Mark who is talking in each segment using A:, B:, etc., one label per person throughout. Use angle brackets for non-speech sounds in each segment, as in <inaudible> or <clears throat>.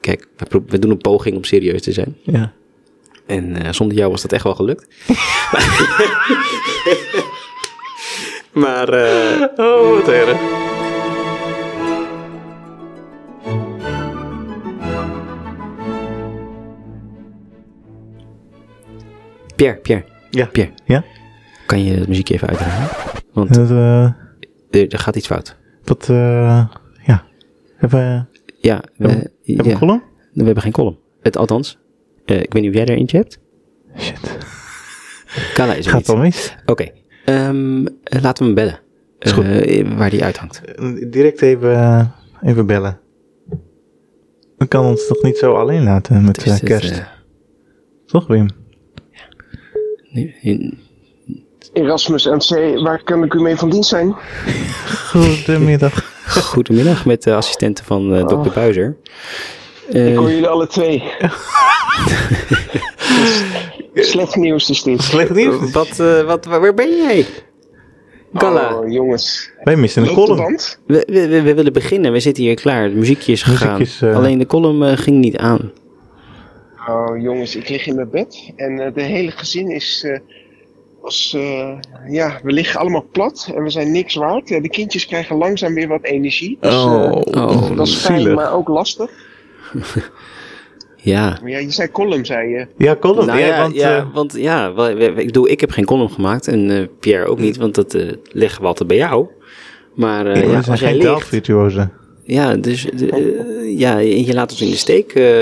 A: kijk, we, pro- we doen een poging om serieus te zijn.
B: Ja.
A: En eh, zonder jou was dat echt wel gelukt. maar, eh,
B: Oh, wat erg.
A: Pierre, Pierre,
B: Ja.
A: Pierre,
B: Ja?
A: kan je het muziekje even uitdraaien? Want
B: Dat, eh,
A: er, er gaat iets fout.
B: dat, eh, ja. eh, Hebben we,
A: Ja, we,
B: hebben we hebben we
A: ja,
B: een column?
A: we hebben geen column. Het, althans, eh, ik weet niet of jij er eentje hebt.
B: Shit.
A: Carla is er
B: Gaat
A: niet.
B: wel mis.
A: Oké, ehm, eh, laten we hem bellen.
B: Is goed.
A: Eh, waar die uithangt.
B: Eh, Direct even, eh, even bellen. We kan ons toch niet zo alleen laten met
A: Dus
B: eh,
A: dat,
B: kerst?
A: eh,
B: Toch, Wim?
A: nu- nu-
C: Erasmus MC, waar kan ik u mee van dienst zijn?
A: <laughs>
B: Goedemiddag.
A: Goedemiddag met de assistente van eh, dokter Buizer.
C: Ah. Ik
A: Eh,
C: hoor jullie alle twee. Dus, Slecht nieuws is dit.
B: Slecht nieuws.
A: wat, eh, wat, waar waar ben jij? Carla,
C: Oh, jongens.
B: Wij missen een
C: Loopt de
B: column.
C: band?
A: we, we, we- we willen beginnen. We zitten hier klaar. Het muziekje is
B: Muziekje
A: gegaan.
B: is, eh,
A: Alleen de column eh, ging niet aan.
C: Oh, jongens, ik lig in mijn bed en eh, de hele gezin is. eh, was, eh, ja, we liggen allemaal plat en we zijn niks waard. Eh, de kindjes krijgen langzaam weer wat energie. Dus, eh,
A: Oh,
C: dat is fijn,
B: zielig.
C: maar ook lastig.
A: Ja.
C: Maar ja, je zei column, zei je.
B: Ja, column.
A: Nou
B: ja,
A: ja,
B: want,
A: ja,
B: eh,
A: want ja, wa- we- we- ik, doe, ik heb geen column gemaakt en eh, Pierre ook niet, want dat eh, leggen we altijd bij jou. Maar eh,
B: we
A: ja,
B: zijn
A: als jij
B: geen
A: ligt,
B: taalvirtuozen.
A: Ja, dus de, eh, ja, je laat ons in de steek eh,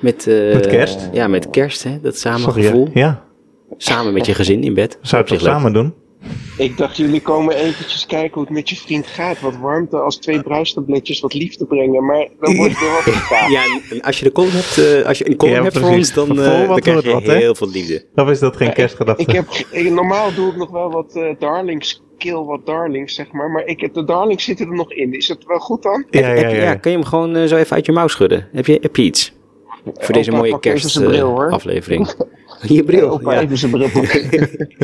A: met, eh,
B: Met kerst?
A: Ja, met kerst, hè, dat
B: Sorry, hè?
A: samengevoel.
B: Ja,
A: Samen met je gezin in bed.
B: we zouden
A: Op
B: het
A: zich
B: toch
A: leuk.
B: samen doen?
C: Ik dacht, jullie komen eventjes kijken hoe het met je vriend gaat. Wat warmte als twee bruistabletjes wat liefde brengen. Maar dan wordt het weer wat gevraagd.
A: <laughs> Ja, en als je, de column hebt, eh, als je een column
B: Ja,
A: hebt voor
B: precies.
A: ons, dan,
B: Voor
A: eh,
B: wat
A: dan krijg
B: wordt
A: je
B: wat, hè?
A: heel veel liefde.
B: Of is dat geen kerstgedachte?
C: Ik heb, ik- normaal doe ik nog wel wat eh, darlings, kill wat darlings, zeg maar. Maar ik heb, de darlings zitten er nog in. Is dat wel goed dan?
B: ja, ja,
A: Heb je-
B: ja, ja.
A: kun je hem gewoon eh, zo even uit je mouw schudden? Heb je, heb je iets? Voor deze
C: opa,
A: mooie
C: pak even zijn bril, hoor. <laughs>
A: kerstaflevering. <laughs> je bril,
C: Opa,
A: ja.
C: even zijn bril pakken.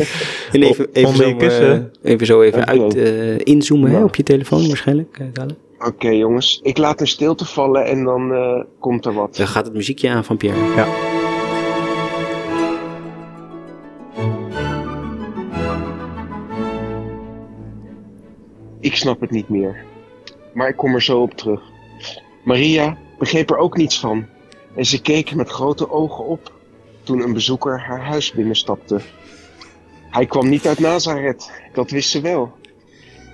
A: <laughs> En even, even,
B: onder
A: zo,
B: je
A: eh,
B: kussen.
A: even zo even
C: Oké.
A: uit, eh, inzoomen hè,
C: Ja.
A: op je telefoon waarschijnlijk. eh, Dale.
C: Oké jongens, ik laat een stilte vallen en dan eh, komt er wat.
A: Dan gaat het muziekje aan van Pierre.
C: Ik snap het niet meer. Maar ik kom er zo op terug. Maria begreep er ook niets van. En ze keek met grote ogen op toen een bezoeker haar huis binnenstapte. Hij kwam niet uit Nazareth, dat wist ze wel.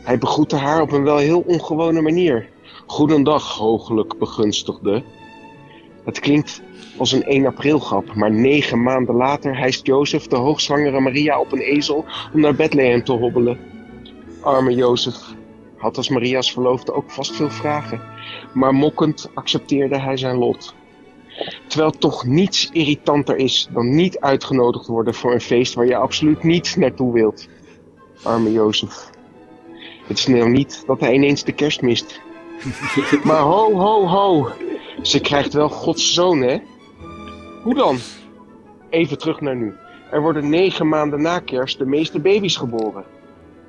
C: Hij begroette haar op een wel heel ongewone manier. Goedendag, hoogelijk begunstigde. Het klinkt als een 1 april grap, maar negen maanden later hijst Jozef de hoogzwangere Maria op een ezel om naar Bethlehem te hobbelen. Arme Jozef had als Maria's verloofde ook vast veel vragen, maar mokkend accepteerde hij zijn lot. Terwijl toch niets irritanter is dan niet uitgenodigd worden voor een feest waar je absoluut niet naartoe wilt. Arme Jozef. Het is nou niet dat hij ineens de kerst mist. maar ho, ho, ho. Ze krijgt wel Gods zoon, hè? Hoe dan? Even terug naar nu. Er worden negen maanden na kerst de meeste baby's geboren.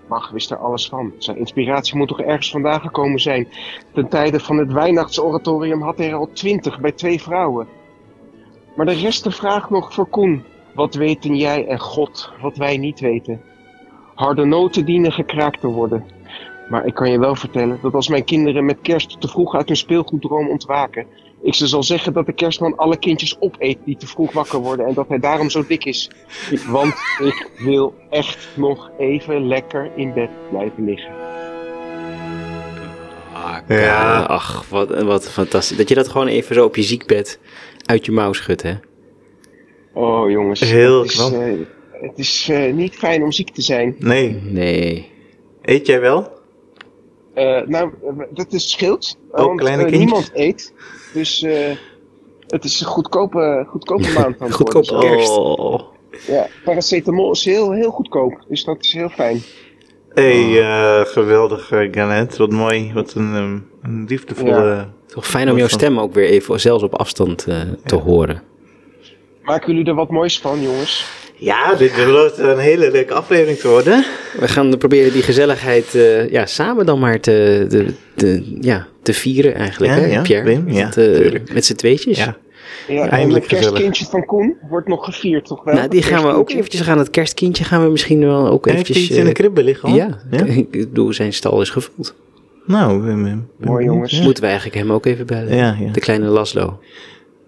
C: Mag wist er alles van. Zijn inspiratie moet toch ergens vandaan gekomen zijn. Ten tijde van het Weihnachtsoratorium had hij er al twintig bij twee vrouwen. Maar de rest de vraag nog voor Koen. Wat weten jij en God wat wij niet weten? Harde noten dienen gekraakt te worden. Maar ik kan je wel vertellen dat als mijn kinderen met kerst te vroeg uit hun speelgoeddroom ontwaken, ik ze zal zeggen dat de kerstman alle kindjes opeet die te vroeg wakker worden en dat hij daarom zo dik is. Want ik wil echt nog even lekker in bed blijven liggen.
A: Ah,
B: Ja.
A: Karel, Ach, wat, wat fantastisch. Dat je dat gewoon even zo op je ziekbed uit je mouw schudt, hè?
C: Oh jongens,
B: Heel
C: het is,
B: knap.
C: eh, het is eh, niet fijn om ziek te zijn.
B: Nee,
A: Nee.
B: eet jij wel?
C: Eh, nou, eh, dat is scheelt.
B: Ook
C: want,
B: Oh, kleine
C: eh,
B: kindjes?
C: niemand eet. Dus eh, het is een goedkope,
B: <laughs>
C: goedkope maand aan het
A: Goedkoop.
C: worden. Dus kerst.
A: Oh.
C: Ja, paracetamol is heel, heel goedkoop. Dus dat is heel fijn.
B: Hé, hey, eh, geweldig, eh, Garnet. Wat mooi. Wat een, ehm, een liefdevolle...
A: Toch fijn om jouw stem ook weer even, zelfs op afstand, eh, te horen.
C: Maken jullie er wat moois van, jongens?
B: Ja, dit belooft een hele leuke aflevering te worden.
A: We gaan proberen die gezelligheid eh, ja, samen dan maar te, te, te- ja, te vieren eigenlijk,
B: Ja,
A: hè,
B: ja,
A: Pierre?
B: Wim, ja,
A: Want, eh,
B: tuurlijk.
A: met z'n tweetjes.
B: Ja.
C: Ja,
B: eindelijk
C: en het kerstkindje van Koen wordt nog gevierd, toch wel?
A: Nou, die gaan we ook
C: Kerstkindje.
A: eventjes aan het kerstkindje gaan we misschien wel ook
B: Heeft hij
A: eventjes...
B: iets in de
A: eh,
B: kribbe liggen al?
A: Ja, <laughs> ik bedoel, zijn stal is gevuld.
B: Nou, ben- ben- ben-
C: Mooi, jongens.
B: Ja,
A: Moeten we eigenlijk hem ook even bellen?
B: Ja, ja.
A: De kleine Laslo.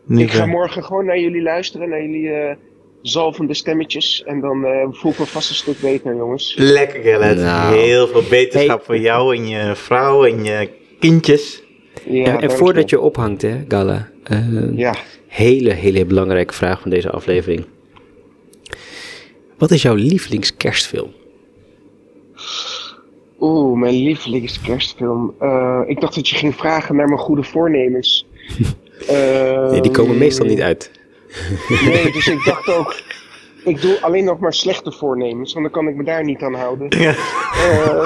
B: Nu
C: Ik ga
B: wel.
C: morgen gewoon naar jullie luisteren, naar jullie eh, zalvende stemmetjes. En dan eh voel ik me vast een stuk beter, jongens.
B: Lekker, Gerrit.
A: Nou.
B: Heel veel beterschap
A: Hey.
B: voor jou en je vrouw en je kindjes.
C: Ja,
A: en en
C: dank
A: voordat je ophangt, hè, Gala. eh,
C: Ja,
A: Hele, hele belangrijke vraag van deze aflevering. Wat is jouw lievelingskerstfilm?
C: oeh, mijn lievelingskerstfilm. Eh, ik dacht dat je ging vragen naar mijn goede
A: <laughs>
C: voornemens.
A: Nee, die komen
C: Ehm,
A: meestal niet uit.
C: Nee, dus ik dacht ook, ik doe alleen nog maar slechte voornemens, want dan kan ik me daar niet aan houden.
B: Ja.
C: Eh,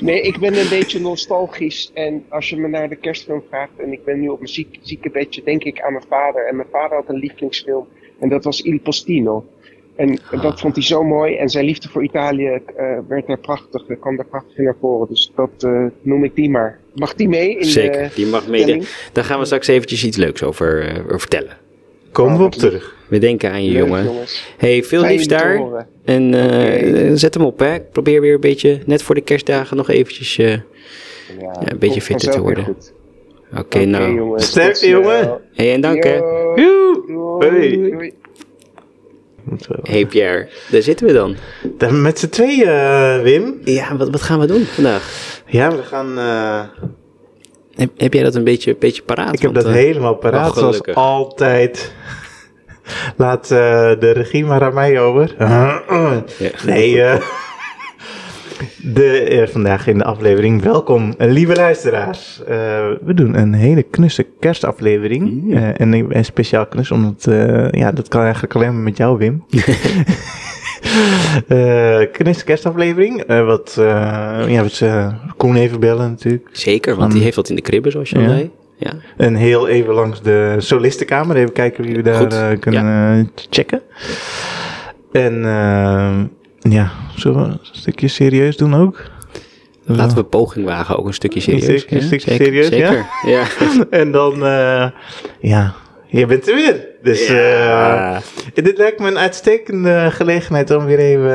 C: nee, ik ben een beetje nostalgisch. En als je me naar de kerstfilm vraagt, en ik ben nu op mijn ziek, zieke bedje, denk ik aan mijn vader. En mijn vader had een lievelingsfilm, en dat was Il Postino. En dat vond hij zo mooi. En zijn liefde voor Italië eh, werd daar prachtig, kwam daar prachtig naar voren. Dus dat eh, noem ik die maar. Mag die mee? In
A: Zeker,
C: De...
A: die mag mee.
C: Danny?
A: Daar gaan we straks eventjes iets leuks over eh, over vertellen.
B: Komen we op terug.
A: We denken aan je,
C: Leuk,
A: jongen.
C: jongens.
A: Hey, veel
C: Fijn
A: liefs
C: om te
A: daar.
C: horen.
A: En eh,
C: Oké.
A: eh, zet hem op, hè. Ik probeer weer een beetje, net voor de kerstdagen, nog eventjes... eh, Ja, een beetje
C: komt
A: fitter te
C: vanzelf weer
A: worden.
C: goed.
A: Oké,
C: Oké,
A: nou.
C: jongens,
B: Sterk,
C: tot snel.
B: jongen.
A: Hey, en dank, hè.
C: Yo.
B: Joe.
C: Doei.
B: Hey.
C: Doei.
B: Moeten we-
A: Hey Pierre, daar zitten we dan.
B: Dan Met z'n tweeën, eh, Wim.
A: Ja, wat, wat gaan we doen vandaag?
B: Ja, we gaan... eh,
A: Heb, heb jij dat een beetje, beetje paraat?
B: ik heb
A: Want,
B: dat
A: eh,
B: helemaal paraat,
A: oh,
B: zoals
A: gelukkig.
B: altijd. <laughs> Laat eh, de regie maar aan mij over. Nee, eh, de, eh, vandaag in de aflevering. Welkom, eh, lieve luisteraars. Eh, we doen een hele knusse kerstaflevering. Eh, en ik ben speciaal knus, omdat eh, ja, dat kan eigenlijk alleen maar met
A: <laughs>
B: jou, Wim. Eh knusse kerstaflevering. eh, wat, eh, ja, wat eh, Koen even bellen natuurlijk.
A: Zeker, want die heeft dat in de kribben, zoals je al
B: Mm. Ja.
A: zei. Ja.
B: En heel even langs de solistenkamer. Even kijken wie we daar
A: Goed,
B: eh, kunnen eh, checken. En ehm, ja, zullen we een stukje serieus doen ook? <laughs>
A: Laten we poging wagen, ook een stukje serieus.
B: stukje-
A: hè?
B: een stukje
A: Zeker,
B: serieus,
A: zeker. ja.
B: En dan, eh, ja, je bent er weer. Dus eh,
A: Ja.
B: dit lijkt me een uitstekende gelegenheid om weer even,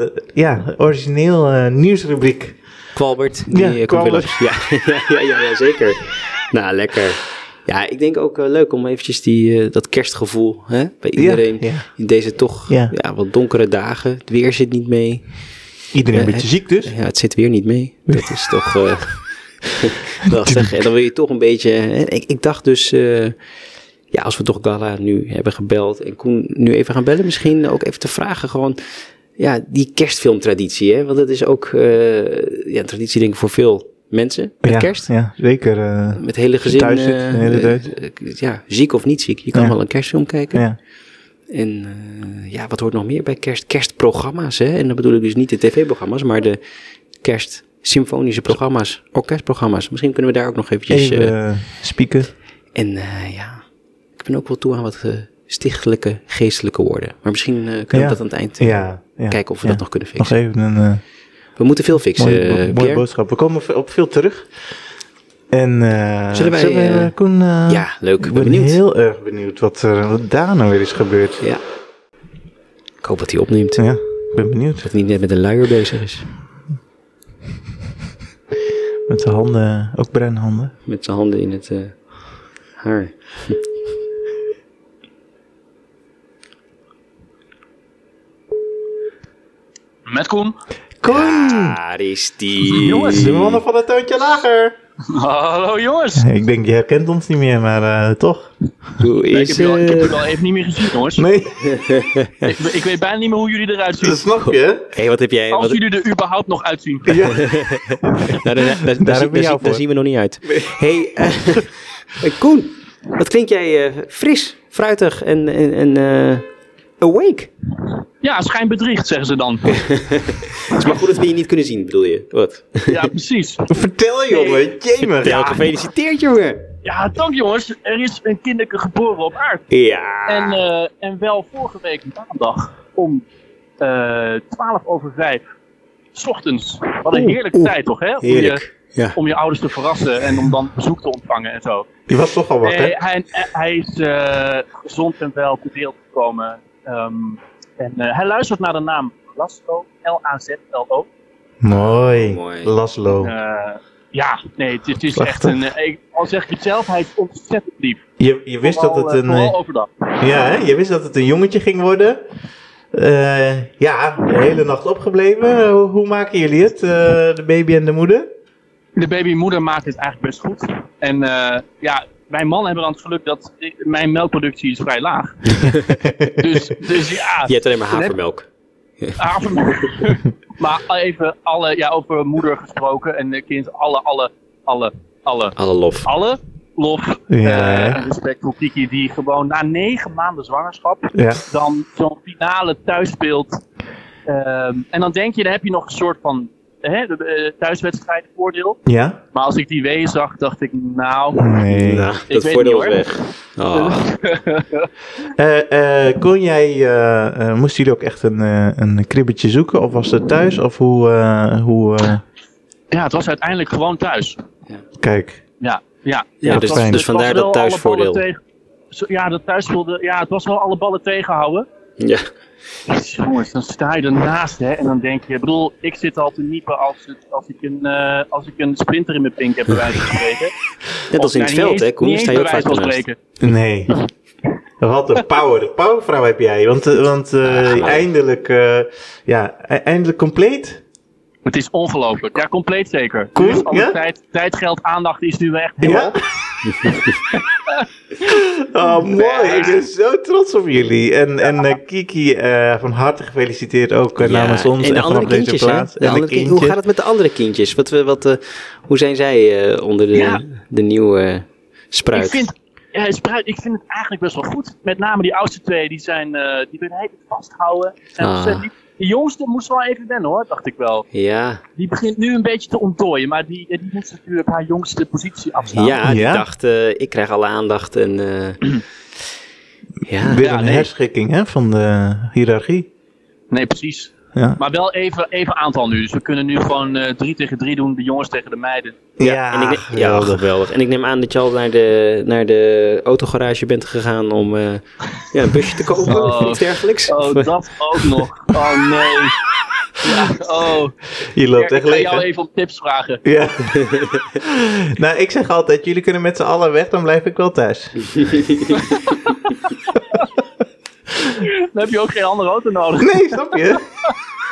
B: eh, ja, origineel eh, nieuwsrubriek.
A: Kwalbert, die eh,
B: Ja,
A: komt weer
B: Kwalbert.
A: langs. Ja, <laughs> ja, ja, ja, ja, zeker. nou, lekker. Ja, ik denk ook eh, leuk om eventjes die, eh, dat kerstgevoel hè, bij iedereen.
B: ja.
A: In deze toch ja.
B: Ja.
A: wat donkere dagen. Het weer zit niet mee.
B: Iedereen een
A: Eh,
B: beetje ziek dus.
A: Ja, het zit weer niet mee. Dat
B: <laughs>
A: is toch eh, <laughs> lastig. En dan wil je toch een beetje... hè, Ik, ik dacht dus... eh, ja, als we toch Gala nu hebben gebeld en Koen nu even gaan bellen, misschien ook even te vragen gewoon, ja, die kerstfilmtraditie, hè? Want dat is ook eh, ja, een traditie denk ik voor veel mensen met
B: ja,
A: kerst.
B: Ja, zeker. eh,
A: Met hele gezin.
B: Thuis zit,
A: eh,
B: de hele tijd.
A: eh, eh, ja, ziek of niet ziek, je kan
B: Ja.
A: wel een kerstfilm kijken.
B: ja.
A: En eh, ja, wat hoort nog meer bij kerst? Kerstprogramma's, hè? En dan bedoel ik dus niet de tv-programma's, maar de kerstsymfonische programma's, orkestprogramma's. Misschien kunnen we daar ook nog eventjes...
B: Even
A: eh,
B: eh, spieken.
A: en eh, ja, ik ben ook wel toe aan wat eh, stichtelijke, geestelijke woorden. Maar misschien eh, kunnen
B: Ja.
A: we dat aan het eind eh,
B: Ja, ja,
A: kijken of we
B: ja.
A: dat nog kunnen
B: Nog
A: fixen.
B: even een... eh,
A: We moeten veel fixen,
B: Mooie,
A: eh,
B: bo- mooie
A: Pierre.
B: boodschap. We komen v- op veel terug. En eh
A: Zullen wij,
B: eh,
A: eh,
B: Koen... eh,
A: ja, leuk.
B: Ik
A: Ben
B: ben
A: benieuwd.
B: heel erg benieuwd wat, er, wat daar nou weer is gebeurd.
A: Ja. Ik hoop dat hij opneemt.
B: Ja, ik ben benieuwd.
A: Dat hij niet net met een luier bezig is.
B: Met de handen, ook bruine handen.
A: Met zijn handen in het eh, haar.
D: Met Koen?
B: Koen!
A: Daar is die.
B: Jongens, de mannen van het toontje lager.
D: Hallo jongens!
B: Ik denk, je herkent ons niet meer, maar eh, toch?
A: Hoe
D: Ik heb,
A: is eh,
D: jullie al, ik heb
A: het?
D: jullie al even niet meer gezien jongens.
B: Nee, <laughs>
D: Ik, ik weet bijna niet meer hoe jullie eruit zien.
B: dat snap je.
A: Hé, wat heb jij?
D: Als
A: Wat,
D: jullie er überhaupt nog uitzien.
A: <laughs> nou, daar, daar, daar, zie- daar,
B: hebben we
A: zie-
B: jou
A: daar
B: voor.
A: zien we nog niet uit. hey,
D: <laughs>
A: eh, eh, Koen. Wat klink jij eh, fris, fruitig en, en, en eh, awake?
D: Ja, schijnbedriegt zeggen ze
A: <laughs>
D: dan.
A: Het is maar goed dat we je niet kunnen <laughs> zien, bedoel je? Wat?
D: Ja, precies.
B: Vertel jongen, jemig.
A: Ja, gefeliciteerd, jongen.
D: Ja, dank jongens. Er is een kinderke geboren op aarde.
A: Ja.
D: En, eh, en wel vorige week maandag om eh 12 over 5 's ochtends. Wat een
A: Oeh,
D: heerlijke
A: oeh.
D: tijd toch, hè? Om je,
A: Heerlijk. Ja.
D: om je ouders te verrassen en om dan bezoek te ontvangen en zo.
B: Je was toch al wat,
D: Nee,
B: hè?
D: Eh, hij, hij is eh, gezond en wel te beeld gekomen. Ehm, en eh, hij luistert naar de naam Laszlo, L-A-Z-L-O.
B: Mooi.
A: Mooi.
B: Laszlo.
D: Eh, ja, nee, het is, het
B: Oh.
D: is
B: Prachtig.
D: echt een... eh, ik- al zeg ik het zelf, hij is ontzettend lief.
B: Je, je wist dat
D: Vooral,
B: het
D: eh,
B: een...
D: Vooral
B: eh,
D: overdag.
B: Ja, hè? je wist dat het een jongetje ging worden. Eh, ja, de hele nacht opgebleven. Eh, hoe, hoe maken jullie het? Eh, de baby en de moeder?
D: De babymoeder maakt het eigenlijk best goed. En eh, ja, mijn man hebben dan het geluk dat ik- mijn melkproductie is vrij
B: <laughs>
D: laag. dus, dus ja,
A: Je hebt alleen maar havermelk.
D: avond. <laughs> maar even alle, ja, over moeder gesproken en eh, kind, alle, alle, alle, alle,
A: Alle lof.
D: alle lof
B: Ja,
D: eh,
B: hè?
D: en respect voor Kiki die gewoon na negen maanden zwangerschap
B: Ja.
D: dan zo'n finale thuis speelt. Ehm, en dan denk je, dan heb je nog een soort van hè, de, de thuiswedstrijd voordeel.
B: Ja?
D: Maar als ik die W zag, dacht ik, nou,
B: Nee.
A: Nou,
D: weet
A: dat voordeel
D: niet,
A: is
D: hoor.
A: weg. Ah,
B: Eh, eh, kon jij, eh, eh, moesten jullie ook echt een, eh, een kribbetje zoeken? Of was het thuis? Of hoe, eh, hoe eh,
D: ja, het was uiteindelijk gewoon thuis.
B: kijk.
D: Ja, ja.
A: Ja,
D: het
A: dus-
D: was-
B: dus
D: het was
A: vandaar
D: wel
A: dat
D: alle
A: thuisvoordeel.
D: ballen tegen- zo- Ja, dat thuisvoordeel. Ja, het was wel alle ballen tegenhouden.
A: ja.
D: Jongens, dan sta je ernaast hè, en dan denk je, ik bedoel, ik zit al te niepen als, het, als, ik, een, eh, als ik een sprinter in mijn pink heb, bij wijze
A: <laughs>
D: van spreken.
A: Net als in het
D: nou
A: veld, hè, Koen? Sta je ook vaak
D: van
A: naast.
D: spreken.
B: Nee. Wat een power. Powervrouw heb jij. Want, eh, want eh, eindelijk, eh, ja, e- eindelijk compleet.
D: Het is ongelooflijk. Ja, compleet zeker.
B: Koen,
D: Dus alle
B: ja?
D: tijd, tijd, geld, aandacht is nu echt heel
B: Ja.
D: op.
B: <laughs> oh, mooi. Ik ben zo trots op jullie. En, en eh, Kiki, eh, van harte gefeliciteerd ook eh,
A: Ja,
B: namens ons.
A: en de
B: vanaf
A: andere
B: deze
A: kindjes, hè?
B: plaats.
A: De
B: En de
A: andere kind- hoe
B: kindjes.
A: gaat het met de andere kindjes? Wat, we- wat, eh, hoe zijn zij eh, onder de,
D: Ja.
A: de nieuwe eh, spruit?
D: Ik vind, eh, Spruit, ik vind het eigenlijk best wel goed. Met name die oudste twee, die zijn, eh die willen heel goed vasthouden. En
A: Ah.
D: ontzettend lief. De jongste moest wel even wennen hoor, dacht ik wel.
A: Ja,
D: Die begint nu een beetje te ontdooien, maar die, eh, die moest natuurlijk haar jongste positie afstaan.
A: ja, die
B: Ja?
A: dacht, eh, ik krijg alle aandacht en...
B: <clears throat>
A: eh, ja,
B: Weer
D: Ja,
B: een
D: nee.
B: herschikking hè, van de hiërarchie.
D: Nee, precies.
B: Ja.
D: Maar wel even, even aantal nu. Dus we kunnen nu gewoon eh, drie tegen drie doen, de jongens tegen de meiden.
A: ja, en ik
D: ah,
A: neem- ja,
B: geweldig.
A: geweldig. En ik neem aan dat je al naar de, naar de autogarage bent gegaan om eh, ja, een
D: <laughs>
A: busje te kopen
D: Oh.
A: of iets dergelijks. <laughs>
D: Oh, dat ook nog. Oh nee. Ja, oh.
B: Je loopt
D: ik
B: echt
D: ga
B: leeg.
D: jou
B: hè?
D: even om tips vragen.
B: Ja. <laughs> nou, ik zeg altijd, jullie kunnen met z'n allen weg, dan blijf ik wel thuis. <laughs>
D: Dan heb je ook geen andere auto nodig.
B: Nee, snap je?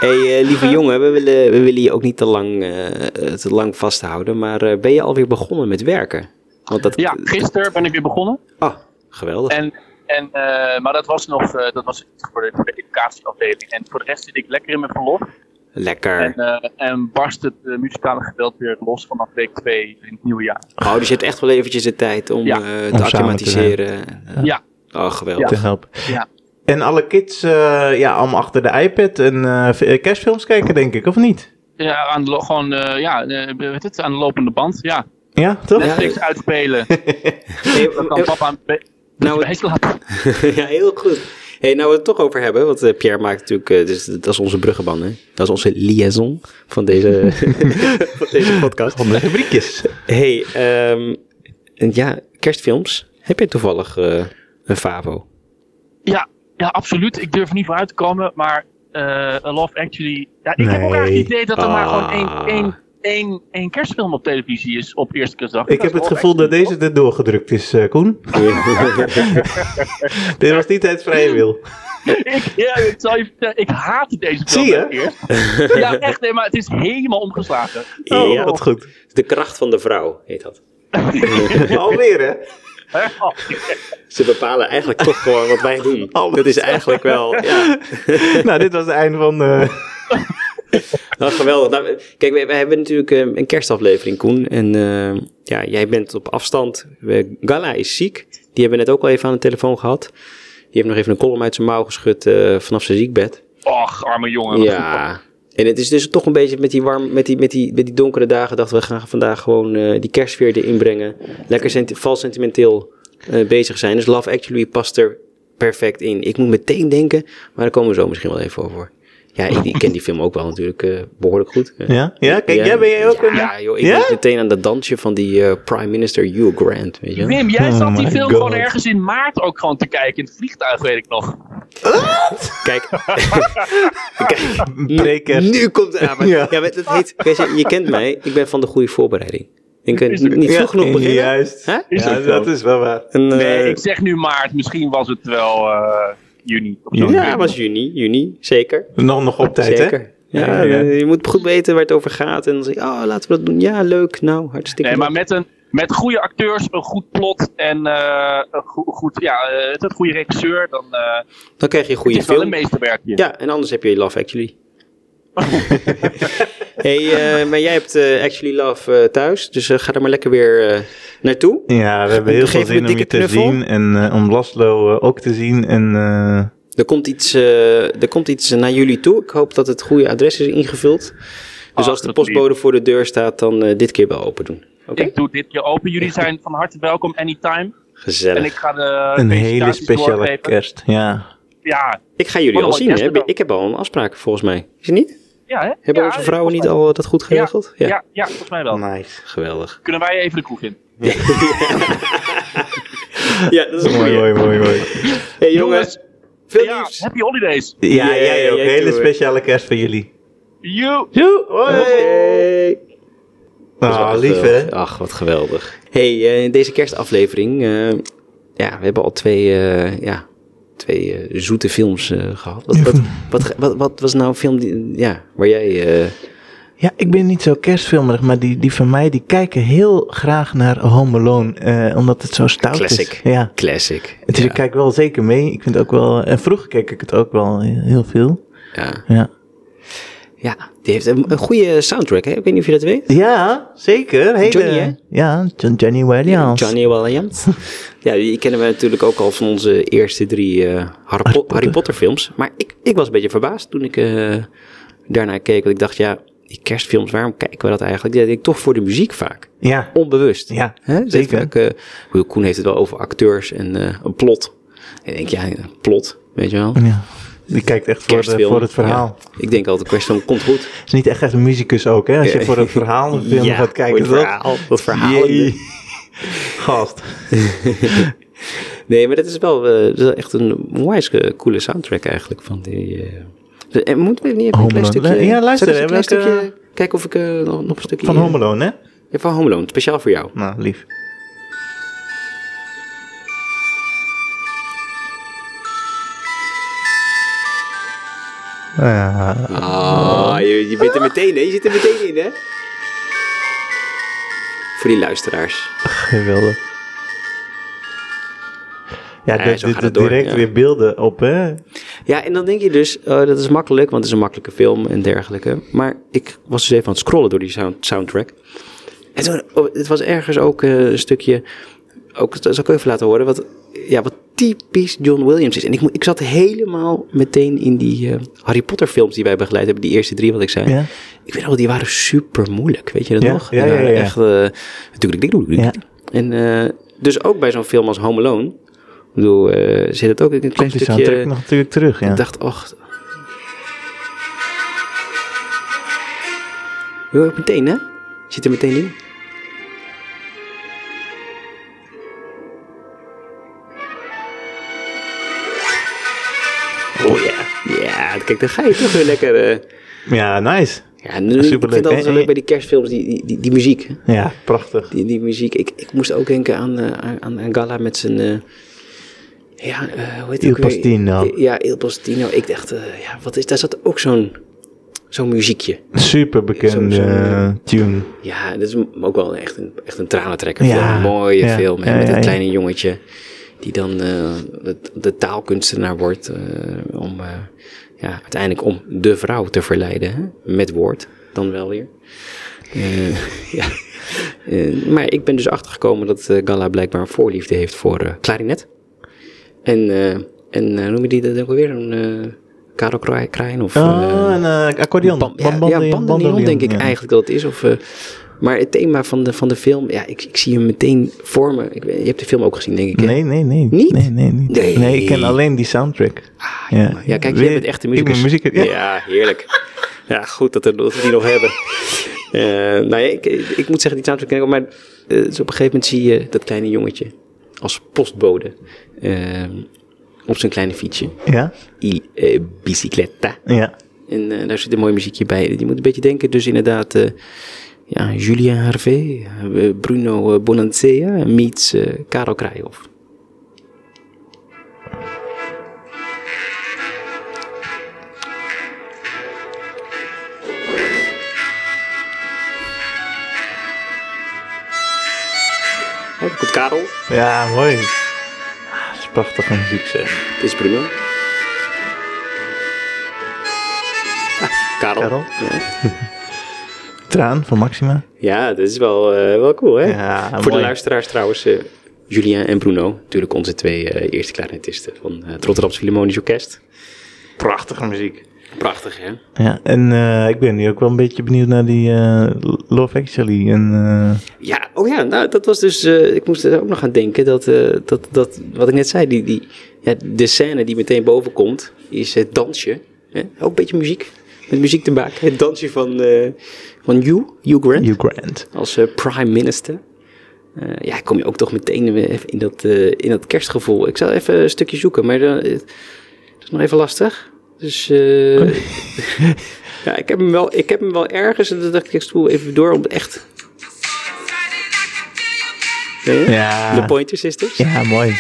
A: Hey, eh, lieve jongen, we willen, we willen je ook niet te lang, eh, eh, te lang vasthouden, maar eh, ben je alweer begonnen met werken? Want dat,
D: Ja, gisteren ben ik weer begonnen.
A: Ah, geweldig.
D: <laughs> En, en, eh, maar dat was nog eh, dat was iets voor de, voor de educatieafdeling. En voor de rest zit ik lekker in mijn verlof.
A: Lekker.
D: En, eh, en barst het eh, muzikale geweld weer los vanaf week 2 in het nieuwe jaar.
A: oh, dus je hebt echt wel eventjes de tijd om
D: Ja.
A: eh, te
B: Om samen te
A: acclimatiseren. Eh,
D: Ja.
A: Oh, geweldig.
B: Te helpen.
D: Ja.
B: En alle kids, eh, ja, allemaal achter de iPad en eh, v- eh, kerstfilms kijken, denk ik, of niet?
D: Ja, aan de, lo- gewoon, eh, ja eh, weet het, aan de lopende band. Ja,
B: Ja, toch? <laughs>
D: Netflix uitspelen.
A: Hey, eh,
D: Dan kan papa een be-
A: Nou,
D: bij slapen.
A: <laughs> ja, heel goed. Hey, nou, we het toch over hebben, want eh, Pierre maakt natuurlijk, eh, dus, dat is onze bruggenban, hè? Dat is onze liaison van deze, van deze podcast.
B: Van de rubriekjes.
A: Hey, ehm, en ja, kerstfilms. Heb je toevallig eh, een Favo?
D: Ja, ja, absoluut. Ik durf er niet vooruit te komen, maar eh, Love Actually... Ja, ik heb ook
B: Nee.
D: eigenlijk het idee dat er maar gewoon één,
A: Ah.
D: één, één, één kerstfilm op televisie is op eerste kerstdag.
B: Ik
D: Dat is
B: heb het
D: Love
B: gevoel dat
D: Actually,
B: deze er doorgedrukt is, eh, Koen. Dit was niet uit vrije wil.
D: Ik, <laughs> ja, ik zal je vertellen, ik haatte deze film
B: Zie je?
D: eerst.
A: <laughs>
D: Ja, echt, nee, maar het is helemaal omgeslagen.
B: Oh,
A: ja,
B: wat goed.
A: de kracht van de vrouw heet dat.
B: Alweer, hè?
D: Oh,
A: Ze bepalen eigenlijk toch gewoon wat wij doen.
B: Alles.
A: Dat is eigenlijk wel, ja.
B: nou, dit was het einde van... eh,
A: <laughs> Nou, geweldig. Nou, kijk, we, we hebben natuurlijk eh, een kerstaflevering, Koen. En eh, ja, jij bent op afstand. We- Gala is ziek. Die hebben we net ook al even aan de telefoon gehad. Die heeft nog even een column uit zijn mouw geschud eh, vanaf zijn ziekbed.
D: Och, arme jongen.
A: Ja, En het is dus toch een beetje met die, warm, met die, met die, met die donkere dagen dachten we gaan vandaag gewoon eh, die kerstfeer erin brengen. Lekker senti vals sentimenteel eh, bezig zijn. Dus Love Actually past er perfect in. Ik moet meteen denken, maar daar komen we zo misschien wel even over. Ja, ik, ik ken die film ook wel natuurlijk eh, behoorlijk goed. Eh,
B: Ja? Ja, kijk, jij ben jij ook
A: ja,
B: een...
A: Ja, joh, ik
B: Ja?
A: denk meteen aan dat dansje van die eh, Prime Minister Hugh Grant, weet je wel.
D: Wim, jij
B: Oh
D: zat die
B: my
D: film
B: God.
D: gewoon ergens in maart ook gewoon te kijken. In het vliegtuig, weet ik nog.
A: Kijk, <laughs>
B: Een preker.
A: nu komt het aan. Maar, ja.
B: Ja.
A: maar dat heet, weet je, je kent mij, ik ben van de goede voorbereiding. Ik kan
D: Is er-
A: niet
B: Ja,
A: vroeg genoeg beginnen.
B: Juist.
A: Hè?
D: Is
B: Ja,
D: ook zo.
B: dat is wel waar.
A: En, eh,
D: Nee, ik zeg nu maart. Misschien was het wel eh, juni. Of zo.
A: Ja, het was juni, juni, zeker.
B: Nog, nog op tijd,
A: zeker.
B: hè?
A: Ja,
B: Ja, ja.
A: eh, je moet goed weten waar het over gaat. En dan zeg je, oh, laten we dat doen. Ja, leuk. Nou, hartstikke
D: Nee,
A: leuk.
D: maar met, een, met goede acteurs, een goed plot en eh, een go- goed, ja, eh, het- een goede regisseur, dan eh,
A: Dan krijg je een
D: het
A: goede
D: is wel een
A: film.
D: meesterwerkje.
A: Ja, en anders heb je Love
D: <laughs>
A: Actually. hey, eh, maar jij hebt eh, Actually Love eh, thuis. Dus eh, ga er maar lekker weer eh, naartoe.
B: Ja, we hebben heel
A: Geef
B: veel
A: hem een
B: zin om
A: dikke
B: je te
A: knuffel.
B: zien. En eh, om Laszlo eh, ook te zien. En eh,
A: Er komt, iets, eh, er komt iets naar jullie toe. Ik hoop dat het goede adres is ingevuld. Dus
D: Ah,
A: als de
D: dat
A: postbode voor de deur staat, dan eh, dit keer wel open doen. Oké?
D: Ik doe dit keer open. Jullie zijn van harte welkom anytime.
A: Gezellig.
D: En ik ga de
B: een hele
D: felicitaties
B: speciale
D: doorgeven.
B: kerst. Ja.
D: Ja,
A: Ik ga jullie
D: Oh,
A: al
D: mooi,
A: zien, hè?
D: kerstcadeau.
A: Ik heb al een afspraak, volgens mij. Is het niet?
D: ja hè?
A: Hebben
D: Ja,
A: onze vrouwen
D: volgens
A: niet al Nou. eh, dat goed
D: mij-
A: geregeld?
D: Ja, ja, ja, volgens mij wel.
B: Nice.
A: Geweldig.
D: Kunnen wij even de kroeg in?
A: Ja, dat is een
B: Mooi,
A: mooie.
B: mooi, mooi, mooi.
A: Hey, jongens, veel
D: ja,
A: liefs.
D: happy holidays.
B: Ja,
A: Ja,
B: jij ook.
A: jij
B: hele
A: toe.
B: speciale kerst voor jullie.
D: You.
B: Joe, hoi.
A: Hey.
B: Ah,
A: Zo
B: lief hè?
A: geweldig. Ach, wat geweldig. hey, eh, in deze kerstaflevering... eh, ja, we hebben al twee, eh, ja, twee eh, zoete films eh, gehad. Wat,
B: <laughs>
A: wat, wat, ge- wat, wat was nou een film die, ja, waar jij... eh,
B: Ja, ik ben niet zo kerstfilmerig, maar die, die van mij, die kijken heel graag naar Home Alone, eh, omdat het zo stout
A: classic.
B: is. Ja.
A: Classic.
B: Dus ik kijk wel zeker mee. Ik vind het ook wel, en vroeger keek ik het ook wel eh, heel veel.
A: Ja.
B: Ja,
A: ja, die heeft een, een goede soundtrack, hè? Ik weet niet of je dat weet.
B: ja zeker. Hele,
A: Johnny, hè?
B: Ja, John, Johnny Williams.
A: eh, Johnny
B: <laughs>
A: Williams. ja, die kennen we natuurlijk ook al van onze eerste drie eh, Harry, Po- Harry Potter films. Maar ik, ik was een beetje verbaasd toen ik eh daarnaar keek. Want ik dacht, ja, die kerstfilms, waarom kijken we dat eigenlijk? Ja, ik denk toch voor de muziek vaak.
B: Ja,
A: Onbewust.
B: ja
A: Hè?
B: zeker.
A: Vaak, eh, ik bedoel, Koen heeft het wel over acteurs en eh, een plot. En ik denk, ja, een plot, weet je wel.
B: Ja. Die kijkt echt voor, de,
A: Kerstfilm.
B: voor het verhaal.
A: Ja. Ik denk altijd, kerstfilm komt goed.
B: Het is niet echt echt een muzikus ook, hè? Als je voor het verhaal een
A: <laughs>
B: film gaat kijken.
A: het
B: toch?
A: verhaal. Dat verhaal. in de-
B: Jee. Gast.
A: Nee, maar dat is wel, eh, dat is wel echt een onwijs eh, coole soundtrack eigenlijk van die. eh, de- en moeten we niet even een
B: Home
A: klein
B: Alone.
A: stukje?
B: Ja, luister,
A: zal ik eens een
B: hè,
A: klein
B: welke-
A: stukje kijken of ik eh, nog, nog een stukje
B: Van Home Alone, hè?
A: Ja, van Home Alone, speciaal voor jou.
B: Nou, lief. Nou Ja, <laughs>
A: Ah, je, je bent er meteen, hè? Je zit er meteen in, hè? Voor die luisteraars.
B: geweldig. Ja,
A: Ja,
B: dit
A: zo gaat
B: dit
A: het door,
B: direct
A: ja.
B: weer beelden op, hè?
A: Ja, en dan denk je dus, eh, dat is makkelijk, want het is een makkelijke film en dergelijke. Maar ik was dus even aan het scrollen door die sound, soundtrack. En toen, oh, het was ergens ook eh, een stukje, ook, dat zal ik even laten horen, wat, ja, wat typisch John Williams is. En ik, mo- ik zat helemaal meteen in die eh, Harry Potter films die wij begeleid hebben, die eerste drie wat ik zei.
B: Ja.
A: Ik weet al, die waren super moeilijk, weet je dat
B: Ja,
A: nog?
B: ja,
A: Die
B: ja,
A: waren
B: ja.
A: Echt, eh, natuurlijk, ik doe
B: Ja.
A: En eh, dus ook bij zo'n film als Home Alone, ik bedoel, eh, zit het ook in een klein
B: Komt die
A: stukje...
B: soundtrack nog natuurlijk terug, ja.
A: Ik dacht, och. Heel erg meteen, hè? Zit er meteen in. Oh ja. Ja, kijk, dan ga je toch weer lekker. eh,
B: Ja, nice.
A: ja, nu, ik vind
B: Superleuk,
A: het altijd
B: hè?
A: zo leuk bij die kerstfilms, die, die, die, die muziek. hè?
B: Ja, prachtig.
A: Die, die muziek. Ik, ik moest ook denken aan, eh, aan, aan- aan Gala met zijn. eh, ja, eh, hoe heet die
B: Il
A: ook weer?
B: Postino.
A: Ja, Il Postino. Ik dacht, eh, ja, wat is. Daar zat ook zo'n zo'n muziekje.
B: Super bekende
A: Zo'n- zo'n,
B: eh, tune.
A: Ja, dat is m- ook wel echt een, echt een tranentrekker.
B: Ja,
A: film. Een mooie
B: ja,
A: film. Hè,
B: ja,
A: met
B: ja,
A: dat
B: ja.
A: kleine jongetje. Die dan eh, de, de taalkunstenaar wordt. eh, om eh, ja, uiteindelijk om de vrouw te verleiden. Hè? Met woord dan wel weer. Eh, <laughs> ja. Eh, maar ik ben dus achtergekomen dat eh, Gala blijkbaar een voorliefde heeft voor eh klarinet. En, eh en eh, noem je die dat ook alweer? Een, eh, Karel Kraai- Kraaien of...
B: Oh,
A: eh,
B: een eh, accordeon.
A: Bam- ja,
B: Bambandeon,
A: ja, Bandoneon denk ik
B: ja.
A: eigenlijk dat het is. Of, eh, maar het thema van de, van de film, ja, ik, ik zie hem meteen vormen. Ik, weet- je hebt de film ook gezien, denk ik. hè?
B: Nee, nee, nee.
A: Niet?
B: Nee, nee, niet.
A: Nee.
B: nee, ik ken alleen die soundtrack.
A: ja. Ah, ja, kijk, jij bent echt een muzikus.
B: Ik ben muzikus, ja.
A: ja. heerlijk. ja, goed dat, er- dat we die nog hebben. Eh, nou ja, ik, ik moet zeggen, die soundtrack ken ik ook, maar eh, dus op een gegeven moment zie je dat kleine jongetje als postbode eh, op zijn kleine fietsje.
B: Ja,
A: I eh, bicicletta.
B: ja.
A: En eh, daar zit een mooi muziekje bij. Je moet een beetje denken, dus inderdaad, eh, ja, Julien Hervé, eh, Bruno eh, Bonanzea meets eh Karel Krijhoff. Kijk, goed Karel.
B: Ja, mooi. Ah, Dat is prachtige muziek, zeg.
A: Dit is Bruno. Ah, Karel.
B: Karel.
A: Ja.
B: Traan van Maxima.
A: Ja, dat is wel, eh, wel cool, hè?
B: Ja,
A: Voor
B: mooi.
A: de luisteraars trouwens, eh, Julien en Bruno. Natuurlijk onze twee eh, eerste clarinetisten van eh, het Rotterdamse Philharmonisch Orkest.
B: Prachtige muziek.
A: Prachtig, hè?
B: Ja, en eh, ik ben nu ook wel een beetje benieuwd naar die eh, Love Actually. En, eh,
A: Ja, oh ja, nou, dat was dus... eh, ik moest er ook nog aan denken dat, eh, dat, dat wat ik net zei, die, die, ja, de scène die meteen boven komt, is het dansje. Hè? Ook een beetje muziek, met muziek te maken. Het dansje van, eh van Hugh, Hugh Grant.
B: Hugh Grant.
A: als eh, prime minister. Eh, ja, kom je ook toch meteen weer even in dat, eh, in dat kerstgevoel. Ik zal even een stukje zoeken, maar dan, eh, dat is nog even lastig. Dus eh,
B: Oh.
A: <laughs> ja, ik heb, hem wel, ik heb hem wel ergens en toen dacht ik, ik spoel even door om het echt...
B: Ja.
A: De Pointer Sisters.
B: Ja, mooi.
A: En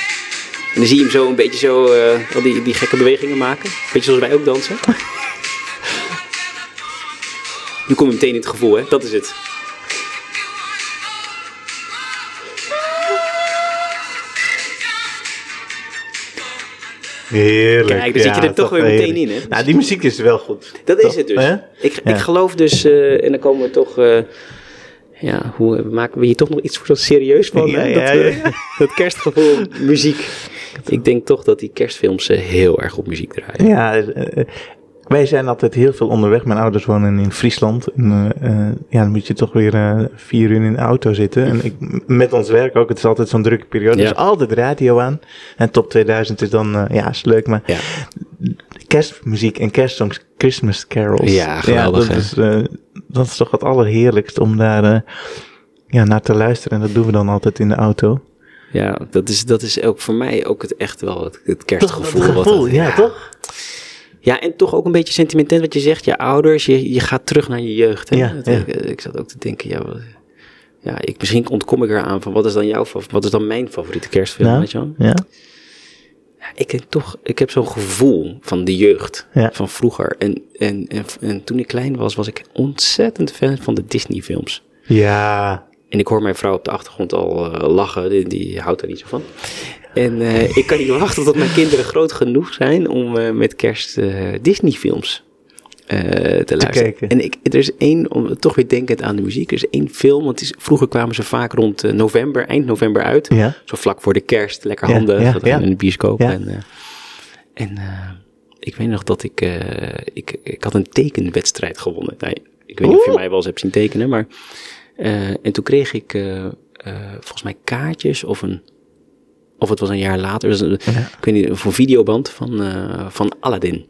A: dan zie je hem zo een beetje zo, eh, al die, die gekke bewegingen maken. Beetje zoals wij ook dansen.
B: <laughs>
A: nu kom je meteen in het gevoel, hè? Dat is het.
B: Heerlijk.
A: Kijk, dan zit je er toch
B: dat
A: weer
B: is
A: meteen
B: heerlijk.
A: in, hè?
B: Nou, die muziek is wel goed.
A: Dat
B: Toch, Eh?
A: is het dus.
B: hè?
A: Ik,
B: Ja.
A: ik geloof dus, eh, en dan komen we toch, eh, ja, hoe maken we hier toch nog iets voor serieus van? hè?
B: Ja,
A: dat,
B: ja,
A: we-
B: ja.
A: <laughs> dat kerstgevoel, muziek. Ik denk toch dat die kerstfilms eh, heel erg op muziek draaien.
B: Ja, eh, eh, wij zijn altijd heel veel onderweg. Mijn ouders wonen in Friesland. En, eh, eh, ja, dan moet je toch weer eh, vier uur in de auto zitten. En ik, m- met ons werk ook, het is altijd zo'n drukke periode.
A: Ja.
B: Dus altijd radio aan. En top 2000 is dan, eh, ja, is leuk. Maar
A: Ja.
B: kerstmuziek en kerstsongs, Christmas carols.
A: Ja, geweldig,
B: dat,
A: hè?
B: is, eh, dat is toch het allerheerlijkst om daar eh, ja, naar te luisteren. En dat doen we dan altijd in de auto.
A: Ja, dat is, dat is ook voor mij ook het echt wel het, het kerstgevoel.
B: Dat
A: wat
B: gevoel,
A: het-
B: ja, toch?
A: Ja, en toch ook een beetje sentimenteel wat je zegt. Je ouders, je, je gaat terug naar je jeugd. Hè?
B: Ja,
A: Dat-
B: ja.
A: Ik, eh, ik zat ook te denken, ja, wat- ja ik, misschien ontkom ik eraan van wat is dan jouw favoriet, wat is dan mijn favoriete kerstfilm,
B: Nou,
A: weet je wel?
B: ja.
A: Ik denk toch, ik heb zo'n gevoel van de jeugd,
B: Ja.
A: van vroeger. En, en, en, en toen ik klein was, was ik ontzettend fan van de Disney-films.
B: Ja,
A: En ik hoor mijn vrouw op de achtergrond al eh, lachen, die, die houdt er niet zo van. En eh, ik kan niet <laughs> wachten tot mijn kinderen groot genoeg zijn om eh, met kerst eh, Disney-films eh, te luisteren.
B: kijken.
A: En ik, er is één, om, toch weer denkend aan de muziek, er is één film, want het is, vroeger kwamen ze vaak rond eh, november, eind november uit.
B: Ja.
A: Zo vlak voor de kerst, lekker
B: Ja,
A: handig,
B: ja,
A: dat dan
B: ja.
A: in de bioscoop.
B: Ja.
A: En, eh, en eh, ik weet nog dat ik, eh, ik, ik had een tekenwedstrijd gewonnen. Nou, ik weet niet of je mij wel eens hebt zien tekenen, maar... eh, en toen kreeg ik eh, eh, volgens mij kaartjes of een... Of het was een jaar later, dus, een- ik weet niet, of een videoband van, eh, van Aladdin.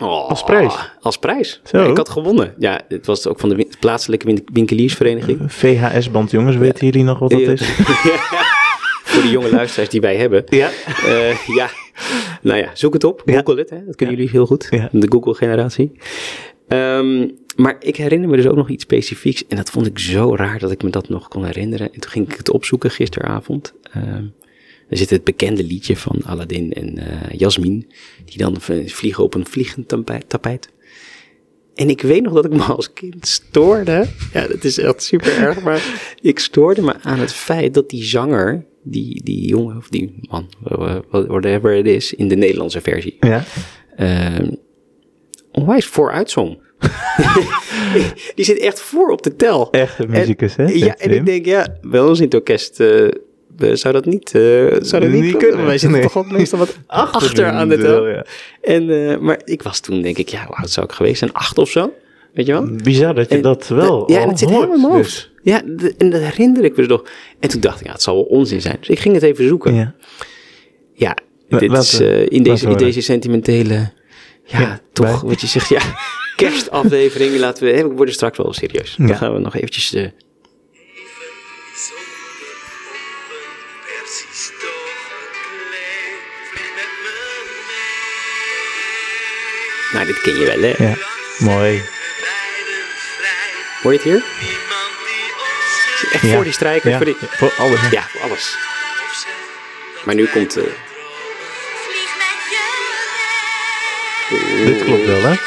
A: Oh,
B: Als prijs?
A: Als prijs.
B: Zo.
A: Ja, ik had gewonnen. Ja, het was ook van de win- plaatselijke win- winkeliersvereniging.
B: VHS-band, jongens, weten jullie nog wat dat
A: Ja.
B: is?
A: <laughs> Voor de jonge luisteraars die wij hebben.
B: Ja.
A: Eh, ja, nou ja, zoek het op. Google het, hè. dat kunnen jullie heel goed.
B: Ja.
A: De Google-generatie. Ehm, maar ik herinner me dus ook nog iets specifieks. En dat vond ik zo raar dat ik me dat nog kon herinneren. En toen ging ik het opzoeken gisteravond. Ehm, er zit het bekende liedje van Aladdin en eh Jasmin. Die dan v- vliegen op een vliegend tapij- tapijt. En ik weet nog dat ik me als kind stoorde. Ja, dat is echt super erg. Maar ik stoorde me aan het feit dat die zanger, die, die jongen of die man, eh, whatever it is, in de Nederlandse versie,
B: Ja.
A: eh, onwijs vooruit zong. <laughs> die zit echt voor op de tel.
B: Echt een
A: En-
B: muzikus, hè?
A: Ja,
B: Zegt
A: en
B: Wim.
A: ik denk, ja, wel eens in het orkest eh, eh, zou dat niet, eh, zou dat niet,
B: Niet
A: kunnen.
B: kunnen,
A: Wij zitten
B: nee.
A: toch ook meestal
B: <laughs>
A: wat achter, aan de tel. En, eh, maar ik was toen denk ik, ja, hoe oud zou ik geweest zijn? Acht of zo, weet je wel?
B: Bizar dat je
A: En
B: dat wel.
A: Ja, en
B: al
A: het zit
B: hoort,
A: helemaal in mijn hoofd.
B: dus.
A: Ja, de- en dat herinner ik me dus nog. En toen dacht ik, ja, het zal wel onzin zijn. Dus ik ging het even zoeken. Ja,
B: Ja. La-
A: dit
B: laten
A: is,
B: we-
A: eh, in,
B: laten we
A: deze, in
B: horen.
A: deze sentimentele... Ja,
B: Ja,
A: toch,
B: bij-
A: wat je
B: <laughs>
A: zegt, ja, kerstaflevering. Laten we, hè, we worden straks wel serieus. Dan
B: Ja.
A: gaan we nog eventjes... eh,
E: Precies toch een klein, vlieg met me mee.
A: nou, dit ken je wel, hè?
B: Ja, mooi.
E: We wijden vrij,
A: Hoor je het hier?
E: niemand die ons scheelt.
A: Echt
B: Ja.
A: voor die strijker,
B: Ja,
A: voor die...
B: ja, voor alles, hè?
A: Ja, voor alles. Maar nu komt... eh,
E: Vlieg met je mee.
B: Dit klopt wel, hè?
E: Het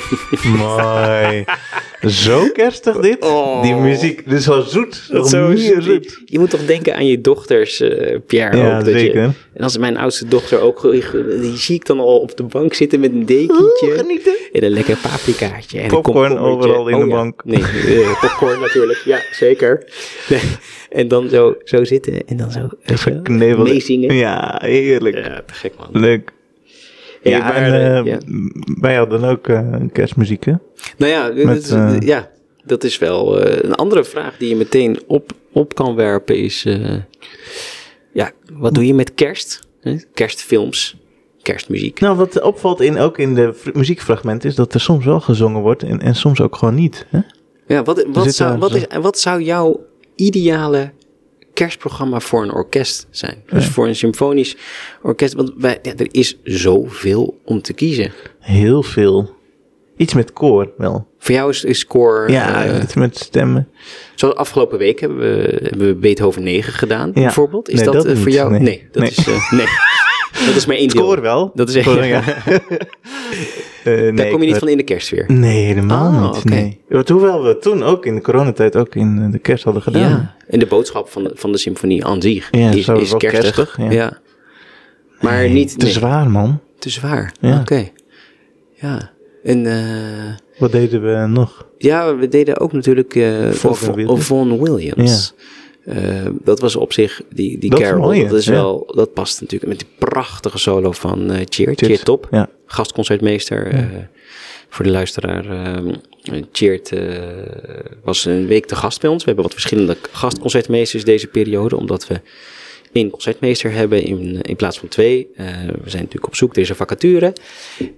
E: is of ik door de ruimte glij.
B: Mooi. Zo kerstig dit.
A: Oh.
B: Die muziek, dit is wel zoet.
A: Dat
B: Nog
A: zo
B: meer
A: zoet. Je moet toch denken aan je dochters, eh, Pierre. ook,
B: Ja,
A: dat
B: zeker.
A: Je, en als mijn oudste dochter ook, die zie ik dan al op de bank zitten met een
B: Oeh,
A: dekentje.
B: genieten.
A: En een lekker paprikaatje. En een
B: Popcorn
A: komkommertje.
B: overal in de
A: ja.
B: bank.
A: Nee, eh, popcorn natuurlijk. Ja, zeker. <laughs> Nee. En dan zo, zo zitten en dan zo weet je wel,
B: Knevel.
A: meezingen. Ja.
B: Ja, heerlijk.
A: te gek man.
B: Leuk.
A: Hey,
B: ja,
A: maar,
B: en,
A: eh,
B: eh,
A: ja.
B: m- wij hadden ook eh, kerstmuziek, hè?
A: Nou ja, dit
B: Met,
A: is-
B: eh,
A: ja, dat is wel eh, een andere vraag die je meteen op, op kan werpen is... eh, ja, wat doe je met kerst? Hè? Kerstfilms, kerstmuziek.
B: Nou, wat opvalt in, ook in de v- muziekfragmenten is dat er soms wel gezongen wordt en, en soms ook gewoon niet. Hè?
A: Ja, wat, wat,
B: zit
A: zou,
B: daar-
A: wat, is, wat zou jouw ideale kerstprogramma voor een orkest zijn? Dus voor een symfonisch orkest. Want wij, ja, er is zoveel om te kiezen.
B: Heel veel. Iets met koor wel.
A: Voor jou is, is koor...
B: Ja,
A: eh,
B: iets met stemmen.
A: zoals afgelopen week hebben we, hebben we Beethoven 9 gedaan, bijvoorbeeld. Is
B: Nee,
A: dat,
B: dat
A: eh, voor
B: niet.
A: jou... Nee,
B: Nee.
A: dat,
B: Nee.
A: Is, eh,
B: <laughs>
A: nee. dat is maar één
B: Het
A: deel.
B: koor wel.
A: Dat is echt...
B: Koor,
A: <laughs>
B: ja. Eh,
A: Daar
B: nee,
A: kom je
B: ik- Mm,
A: niet van in de kerstsfeer.
B: Nee, helemaal
A: Ah,
B: niet.
A: oké.
B: Nee. Want hoewel we toen ook in de coronatijd ook in eh, de kerst hadden gedaan.
A: Ja, en de boodschap van de, van de symfonie aan zich
B: Ja,
A: is,
B: zo
A: is
B: wel
A: kerstig.
B: kerstig,
A: ja.
B: ja.
A: Maar niet...
B: Te
A: nee.
B: zwaar, man.
A: Te zwaar.
B: Ja.
A: Oké. Ja. En eh,
B: Wat deden we nog?
A: ja, we deden ook natuurlijk eh
B: Vaughan
A: Vaughan
B: Williams.
A: Vaughan Williams. Eh, dat was op zich die, die
B: Dat is een
A: Carol.
B: mooie,
A: dat is
B: ja.
A: wel, dat past natuurlijk met die prachtige solo van eh Cheer.
B: Cheert,
A: Cheer Top.
B: ja.
A: Gastconcertmeester. eh, voor de luisteraar. ehm Cheert eh, was een week te gast bij ons. We hebben wat verschillende gastconcertmeesters deze periode. Omdat we één concertmeester hebben in, in plaats van twee. Eh, we zijn natuurlijk op zoek. Er is een vacature.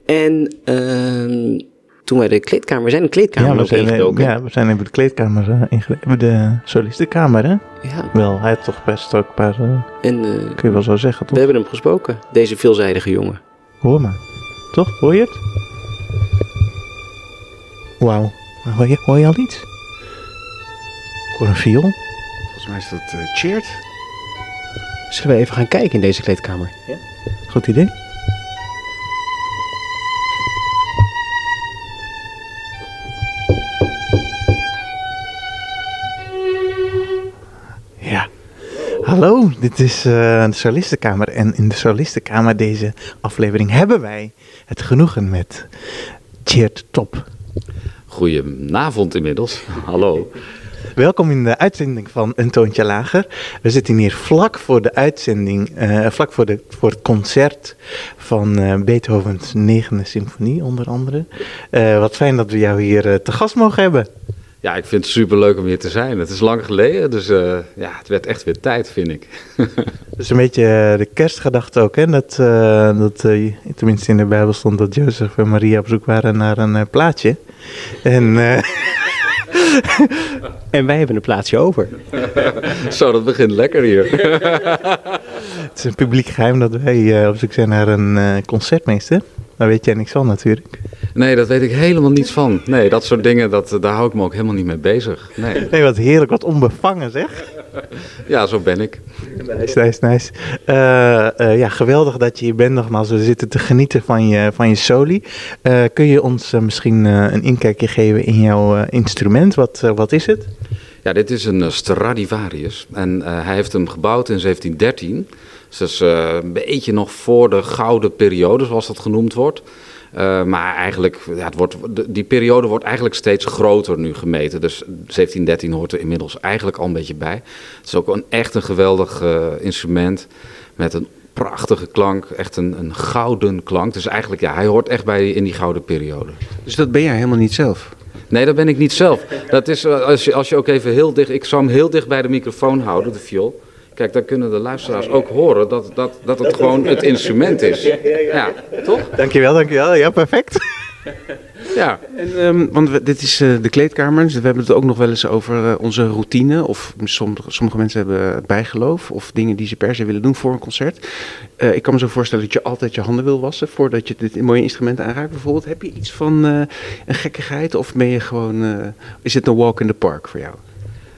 A: En ehm, toen wij de kleedkamer... We zijn de kleedkamer
B: ja, we
A: ook
B: zijn, eh,
A: ingedoken.
B: ja, we zijn even de kleedkamer eh, inge- even De solistenkamer, hè?
A: Ja,
B: Wel, hij heeft toch best ook een paar... eh,
A: en eh,
B: kun je wel zo zeggen,
A: we
B: toch?
A: hebben hem gesproken, deze veelzijdige jongen.
B: Hoor maar. Toch? Hoor je het? Wauw. Hoor je, hoor je al iets? Ik hoor een viool.
F: Volgens mij is dat eh Cheert.
A: Zullen we even gaan kijken in deze kleedkamer?
B: Goed idee. Ja. Hallo, dit is eh, de Solistenkamer. En in de Solistenkamer deze aflevering hebben wij het genoegen met Cheert Top.
F: Goedenavond inmiddels. <laughs> Hallo.
B: Welkom in de uitzending van Een Toontje Lager. We zitten hier vlak voor de uitzending, eh, vlak voor, de, voor het concert van eh, Beethovens 9e symfonie onder andere. Eh, wat fijn dat we jou hier eh, te gast mogen hebben.
F: Ja, ik vind het super leuk om hier te zijn. Het is lang geleden, dus eh, ja, het werd echt weer tijd, vind ik. <laughs>
B: Dus een beetje eh, de kerstgedachte ook, hè? Dat, eh, dat eh, tenminste in de Bijbel stond dat Jozef en Maria op zoek waren naar een eh, plaatje. En, eh, <laughs>
A: En wij hebben een plaatsje over.
F: Zo, dat begint lekker hier.
B: Het is een publiek geheim dat wij eh, op zoek zijn naar een eh, concertmeester. Daar weet jij niks van natuurlijk.
F: Nee, dat weet ik helemaal niets van. Nee, dat soort dingen, dat, eh, daar hou ik me ook helemaal niet mee bezig. Nee.
B: Nee, wat heerlijk, wat onbevangen zeg.
F: Ja, zo ben ik.
B: Nice, nice, nice. Eh, eh, ja, geweldig dat je hier bent nogmaals. We zitten te genieten van je, van je soli. Eh, kun je ons eh, misschien eh, een inkijkje geven in jouw eh, instrument? Wat, eh, wat is het?
F: Ja, dit is een eh, Stradivarius. En eh, hij heeft hem gebouwd in 1713. Dus dat is eh, een beetje nog voor de gouden periode, zoals dat genoemd wordt. Eh, maar eigenlijk, ja, het wordt, de- die periode wordt eigenlijk steeds groter nu gemeten. Dus 1713 hoort er inmiddels eigenlijk al een beetje bij. Het is ook een, echt een geweldig eh, instrument met een prachtige klank. Echt een, een gouden klank. Dus eigenlijk, ja, hij hoort echt bij die- in die gouden periode.
G: Dus dat ben jij helemaal niet zelf.
F: Nee, dat ben ik niet zelf. Dat is, eh, als, je, als je ook even heel dicht... Ik zou hem heel dicht bij de microfoon houden, de viool. Kijk, dan kunnen de luisteraars ook horen dat, dat, dat het gewoon het instrument is. Ja, toch?
B: Dankjewel, dankjewel. Ja, perfect.
F: Ja.
G: En, ehm, want we- dit is eh, de kleedkamer. Dus we hebben het ook nog wel eens over eh, onze routine. Of sommige, sommige mensen hebben bijgeloof. Of dingen die ze per se willen doen voor een concert. Eh, ik kan me zo voorstellen dat je altijd je handen wil wassen. Voordat je dit mooie instrument aanraakt bijvoorbeeld. Heb je iets van eh, een gekkigheid? Of ben je gewoon... eh, is het een walk in the park voor jou?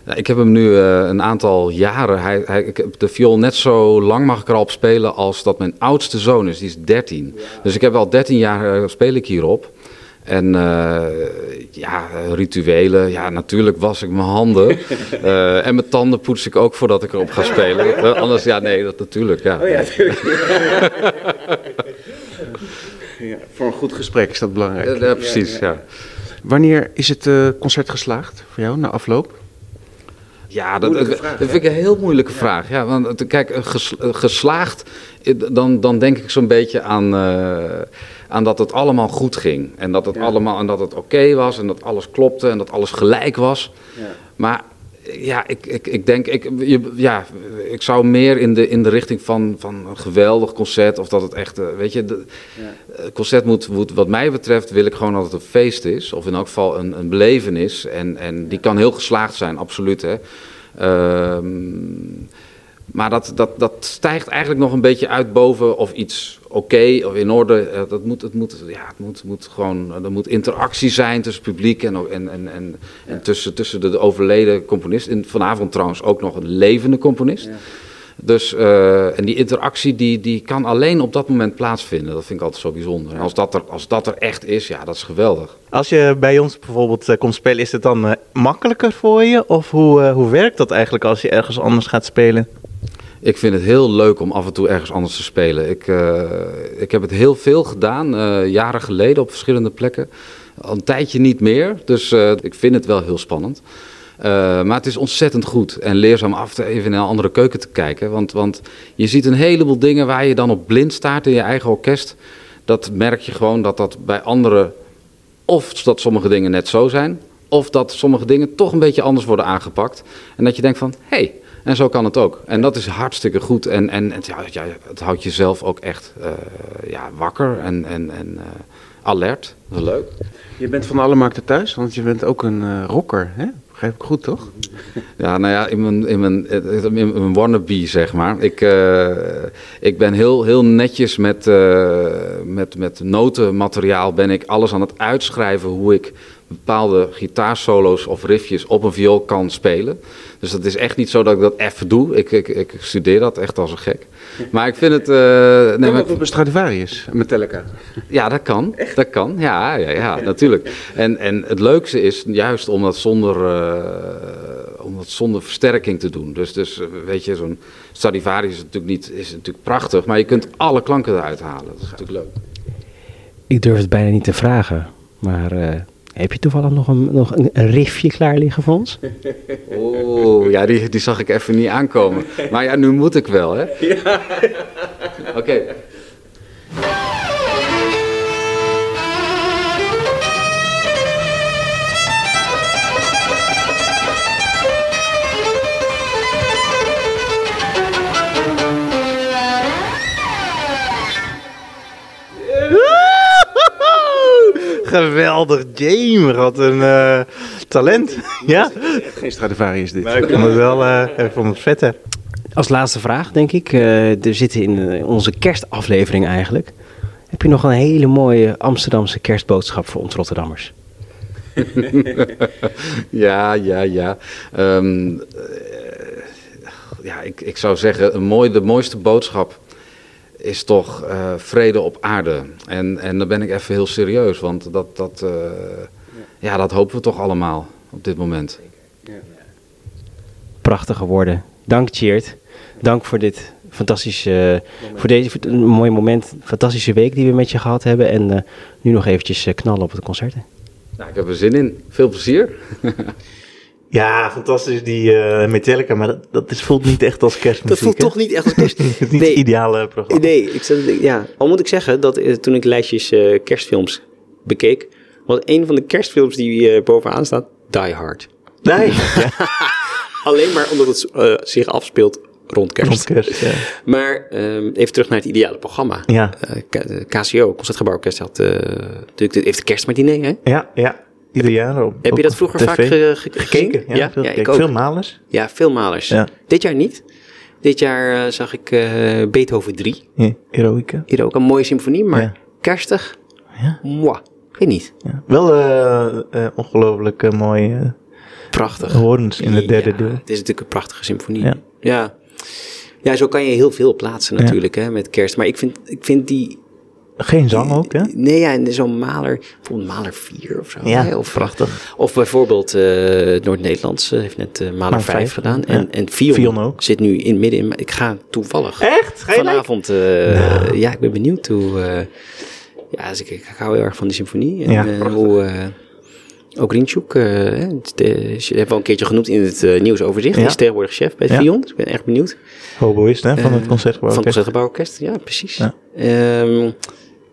F: Nou, ik heb hem nu eh, een aantal jaren. Hij, hij, ik heb de viool net zo lang mag ik er al op spelen als dat mijn oudste zoon is. Die is 13. Dus ik heb al 13 jaar eh, speel ik hierop. En eh, ja, eh, rituelen. Ja, natuurlijk was ik mijn handen. <laughs> Eh, en mijn tanden poets ik ook voordat ik erop ga spelen. Eh, anders, ja, nee, dat natuurlijk. Oh Ja.
G: Voor een goed gesprek is dat belangrijk.
F: Ja, ja, precies, ja.
G: Wanneer is het eh, concert geslaagd voor jou na afloop?
F: Ja, dat, dat- dat vind ik een heel moeilijke vraag. Ja, want het- kijk, eh, ges- eh, geslaagd, eh, dan, dan denk ik zo'n beetje aan, eh, aan dat het allemaal goed ging. En dat het allemaal en dat het oké was en dat alles klopte en dat alles gelijk was. Maar eh, ja, ik, ik, ik denk, ik, je- ja, ik zou meer in de, in de richting van, van een geweldig concert of dat het echt, eh, weet je, de- eh, concert moet, moet, wat mij betreft, wil ik gewoon dat het een feest is. Of in elk geval een, een belevenis. En, en die kan heel geslaagd zijn, absoluut. Hè. Ehm, maar dat, dat, dat stijgt eigenlijk nog een beetje uit boven of iets oké of in orde. eh, dat moet, het moet, ja, het moet, moet gewoon, eh, er moet interactie zijn tussen het publiek en, en, en, en, en tussen, tussen de, de overleden componist. En vanavond trouwens ook nog een levende componist. Dus, eh, en die interactie die, die kan alleen op dat moment plaatsvinden. Dat vind ik altijd zo bijzonder. En als dat er, als dat er echt is, ja, dat is geweldig.
B: Als je bij ons bijvoorbeeld eh, komt spelen, is het dan eh, makkelijker voor je? Of hoe, eh, hoe werkt dat eigenlijk als je ergens anders gaat spelen? <laughs>
F: Ik vind het heel leuk om af en toe ergens anders te spelen. Ik, eh, ik heb het heel veel gedaan, eh, jaren geleden op verschillende plekken. Al een tijdje niet meer, dus eh, ik vind het wel heel spannend. Eh, maar het is ontzettend goed en leerzaam af te even naar een andere keuken te kijken. Want, want je ziet een heleboel dingen waar je dan op blind staat in je eigen orkest. Dat merk je gewoon dat dat bij anderen of dat sommige dingen net zo zijn, of dat sommige dingen toch een beetje anders worden aangepakt. En dat je denkt van, hé, hey, en zo kan het ook. En dat is hartstikke goed. En, en het, ja, ja, het houdt jezelf ook echt eh, ja, wakker en, en, en eh, alert. Dat is leuk.
G: Je bent van alle markten thuis, want je bent ook een eh, rocker. Hè? Begrijp ik goed, toch?
F: Ja, nou ja, in mijn, in mijn, in mijn wannabe, zeg maar. Ik, eh, ik ben heel, heel netjes met, eh, met, met notenmateriaal ben ik alles aan het uitschrijven hoe ik bepaalde gitaarsolo's of riffjes op een viool kan spelen. Dus dat is echt niet zo dat ik dat even doe. Ik, ik, ik studeer dat echt als een gek. Maar ik vind het... eh, nee, maar ik-
G: Op een Stradivarius, Metallica.
F: ja, dat kan. Dat kan. Ja, ja, ja, natuurlijk. En, en het leukste is juist om dat zonder, eh, om dat zonder versterking te doen. Dus, dus eh, weet je, zo'n Stradivarius is natuurlijk, niet, is natuurlijk prachtig, maar je kunt alle klanken eruit halen. Dat is natuurlijk leuk.
H: Ik durf het bijna niet te vragen, maar eh, heb je toevallig nog een, nog een, een riffje klaar liggen voor ons?
F: Oeh, ja, die, die zag ik even niet aankomen. Maar ja, nu moet ik wel, hè? Oké.
B: Geweldig, James. Wat een eh, talent. ja,
G: Geen Stradivarius dit.
B: maar ik vond het wel eh, ik vond het vet, hè.
H: Als laatste vraag, denk ik. eh, er zitten in eh, onze kerstaflevering eigenlijk. Heb je nog een hele mooie Amsterdamse kerstboodschap voor ons Rotterdammers?
F: Ja, ja, ja. Ehm, eh, ja, ik, ik zou zeggen, een mooi, de mooiste boodschap is toch eh, vrede op aarde. En, en dan ben ik even heel serieus, want dat, dat, eh, ja. dat hopen we toch allemaal op dit moment.
H: Prachtige woorden. Dank Cheert. Dank voor dit Fantastisch. eh, voor deze voor een mooi moment. Fantastische week die we met je gehad hebben. En eh, nu nog eventjes eh, knallen op het concert. hè.
F: Nou, ik heb er zin in. Veel plezier.
B: Ja, fantastisch die eh, Metallica, maar dat, dat is, voelt niet echt als kerstmuziek.
A: Dat voelt
B: hè?
A: toch niet
B: <laughs>
A: echt als kerst.
B: Het is niet
A: Nee.
B: het ideale programma.
A: Nee, ik zat, ja. al moet ik zeggen dat eh, toen ik lijstjes eh, kerstfilms bekeek, was een van de kerstfilms die eh, bovenaan staat Die Hard. <laughs>
B: Nee, ja,
A: Alleen maar omdat het eh, zich afspeelt rond kerst.
B: rond kerst, ja.
A: Maar ehm, even terug naar het ideale programma.
B: Ja.
A: Eh, K- eh, KCO, Concertgebouworkest, had eh, natuurlijk de- heeft de kerstmartinet, hè?
B: Ja, ja. Ieder jaar op
A: Heb je dat vroeger vaak ge- ge-
B: gekeken?
A: gezien?
B: Ja,
A: Ja,
B: veel,
A: ja, ik
B: gekeken.
A: ook.
B: veel malers.
A: Ja, veelmalers.
B: Ja.
A: Dit jaar niet. Dit jaar eh, zag ik eh, Beethoven 3.
B: Ja, Heroica.
A: Hier ook een mooie symfonie, maar
B: Ja.
A: kerstig.
B: Ja.
A: Mwah. Ik weet niet.
B: Ja. Wel eh, eh, ongelooflijk eh, mooi eh,
A: Prachtig.
B: hoorns in het derde
A: Ja,
B: deel.
A: Het is natuurlijk een prachtige symfonie.
B: Ja.
A: Ja. ja. zo kan je heel veel plaatsen natuurlijk hè, met kerst. Maar ik vind, ik vind die...
B: Geen zang ook, hè?
A: Nee, ja, en zo'n maler... Bijvoorbeeld maler 4 of zo.
B: Ja,
A: hè, of,
B: prachtig.
A: Of bijvoorbeeld eh, het Noord-Nederlands eh, heeft net eh, maler
B: Maar
A: 5
B: vijf,
A: gedaan.
B: ja.
A: En, en Fion,
B: Fion ook.
A: zit nu in midden in... Ik ga toevallig...
B: Echt? Geen lijk?
A: vanavond... eh,
B: Nou.
A: Ja, ik ben benieuwd hoe... eh, ja, dus ik, ik hou heel erg van die symfonie. En
B: Ja,
A: eh,
B: prachtig.
A: hoe... eh, ook Rinchuk, eh, hè, het, eh, is- hebben we al een keertje genoemd in het eh, nieuwsoverzicht. Hij
B: Ja.
A: is tegenwoordig chef bij
B: Ja.
A: Vion. Dus ik ben echt benieuwd.
B: Hoboïst, hè? Van het
A: Eh,
B: concertgebouw.
A: Van het
B: Orkest.
A: Concertgebouworkest, ja, precies.
B: Ja.
A: Ja.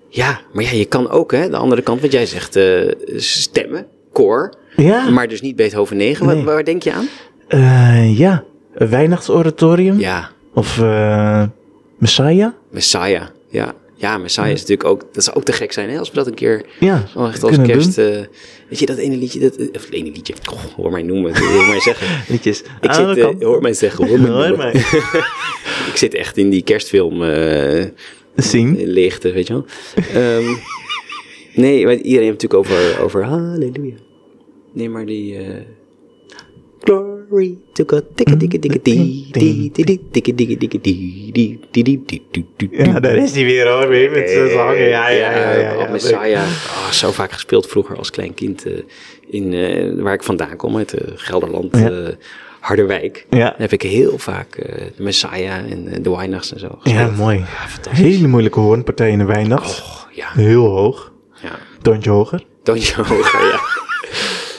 A: ja, maar ja, je kan ook hè, de andere kant, want jij zegt eh, stemmen, koor,
B: Ja,
A: maar dus niet Beethoven 9.
B: Nee.
A: Waar, waar denk je aan?
B: eh, ja. Een Weihnachtsoratorium.
A: Ja,
B: Of eh, Messiah.
A: Messiah. Ja, ja Messiah is natuurlijk ook, dat zou ook te gek zijn hè, als we dat een keer
B: Ja,
A: Oh, echt als
B: kunnen
A: kerst.
B: doen.
A: eh, weet je, dat ene liedje. Dat, eh, of het ene liedje. goh, hoor mij noemen. Hoor
B: <laughs>
A: mij zeggen.
B: Liedjes.
A: Ik
B: Ah,
A: zit,
B: dat
A: eh,
B: kan.
A: hoor mij zeggen. Hoor mij
B: Hoor
A: noemen.
B: mij.
A: <laughs> ik zit echt in die kerstfilm eh
B: <laughs> Zien.
A: leegte, weet je wel. <laughs> Ehm, nee, want iedereen heeft het natuurlijk over, over halleluja. Nee, maar die... eh, Glory to God. Dikke,
B: Hm?
A: dikke, dikke, die, die, die, die, dikke, dikke, dikke, die, die, die, die, die, die, die, die.
B: Ja, daar is hij weer hoor, weer met zijn zang. Ja, ja, ja. ja, ja,
A: oh, Messiah. Oh, zo vaak gespeeld vroeger als klein kind. eh, in, eh, waar ik vandaan kom, uit eh, Gelderland,
B: Ja.
A: eh, Harderwijk.
B: Ja.
A: Heb ik heel vaak eh Messiah en eh, de Weihnachts en zo
B: Ja, Oh.
A: gespeeld. Oh,
B: mooi. Hele moeilijke hoornpartij in de Weihnacht.
A: Ja,
B: Heel hoog.
A: ja.
B: Toontje hoger.
A: Toontje hoger, ja. <laughs>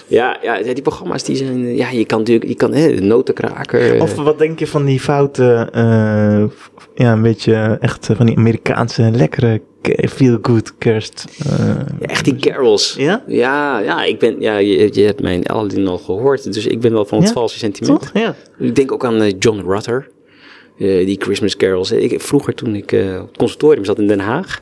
A: Ja, ja, ja, die programma's die zijn... eh, Ja, je kan natuurlijk... Je kan hè, de notenkraker... eh,
B: Of wat denk je van die foute, eh, f- f- ja, een beetje eh, echt eh, van die Amerikaanse lekkere ke- feel-good kerst. eh,
A: ja, echt die carols.
B: Ja?
A: Ja, ja, ik ben, ja je, je hebt mijn Aladdin al gehoord. Dus ik ben wel van het
B: Ja,
A: valse sentiment.
B: Toch? Ja.
A: Ik denk ook aan eh, John Rutter. eh, die Christmas carols. Ik, vroeger toen ik eh, op het conservatorium zat in Den Haag...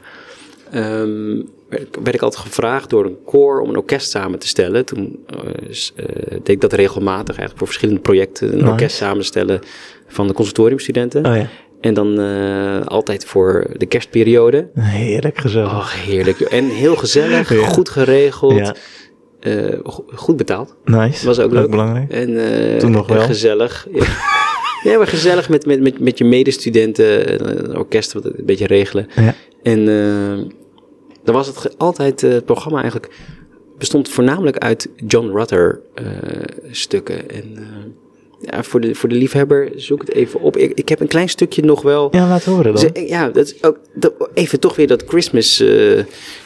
A: ehm, werd ik- werd ik altijd gevraagd door een koor om een orkest samen te stellen. Toen eh, s- eh, deed ik dat regelmatig eigenlijk voor verschillende projecten. Een
B: Nice.
A: orkest samenstellen van de conservatoriumstudenten.
B: Oh ja.
A: En dan eh, altijd voor de kerstperiode.
B: Heerlijk gezellig.
A: Ach, heerlijk. joh. En heel gezellig,
B: Ja.
A: goed geregeld,
B: Ja.
A: eh, go- goed betaald.
B: Nice.
A: Was ook leuk.
B: belangrijk.
A: En, eh,
B: Toen nog
A: en
B: wel.
A: gezellig.
B: <laughs>
A: Ja. nee, maar gezellig met, met, met, met je medestudenten, eh, een orkest wat het een beetje regelen.
B: Ja.
A: En eh, dan was het ge- altijd, eh, het programma eigenlijk bestond voornamelijk uit John Rutter eh, stukken. En eh, ja, voor, de, voor de liefhebber zoek het even op. Ik, ik heb een klein stukje nog wel.
B: Ja, laat horen dan.
A: Ze- ja, dat is ook dat, even toch weer dat Christmas, eh,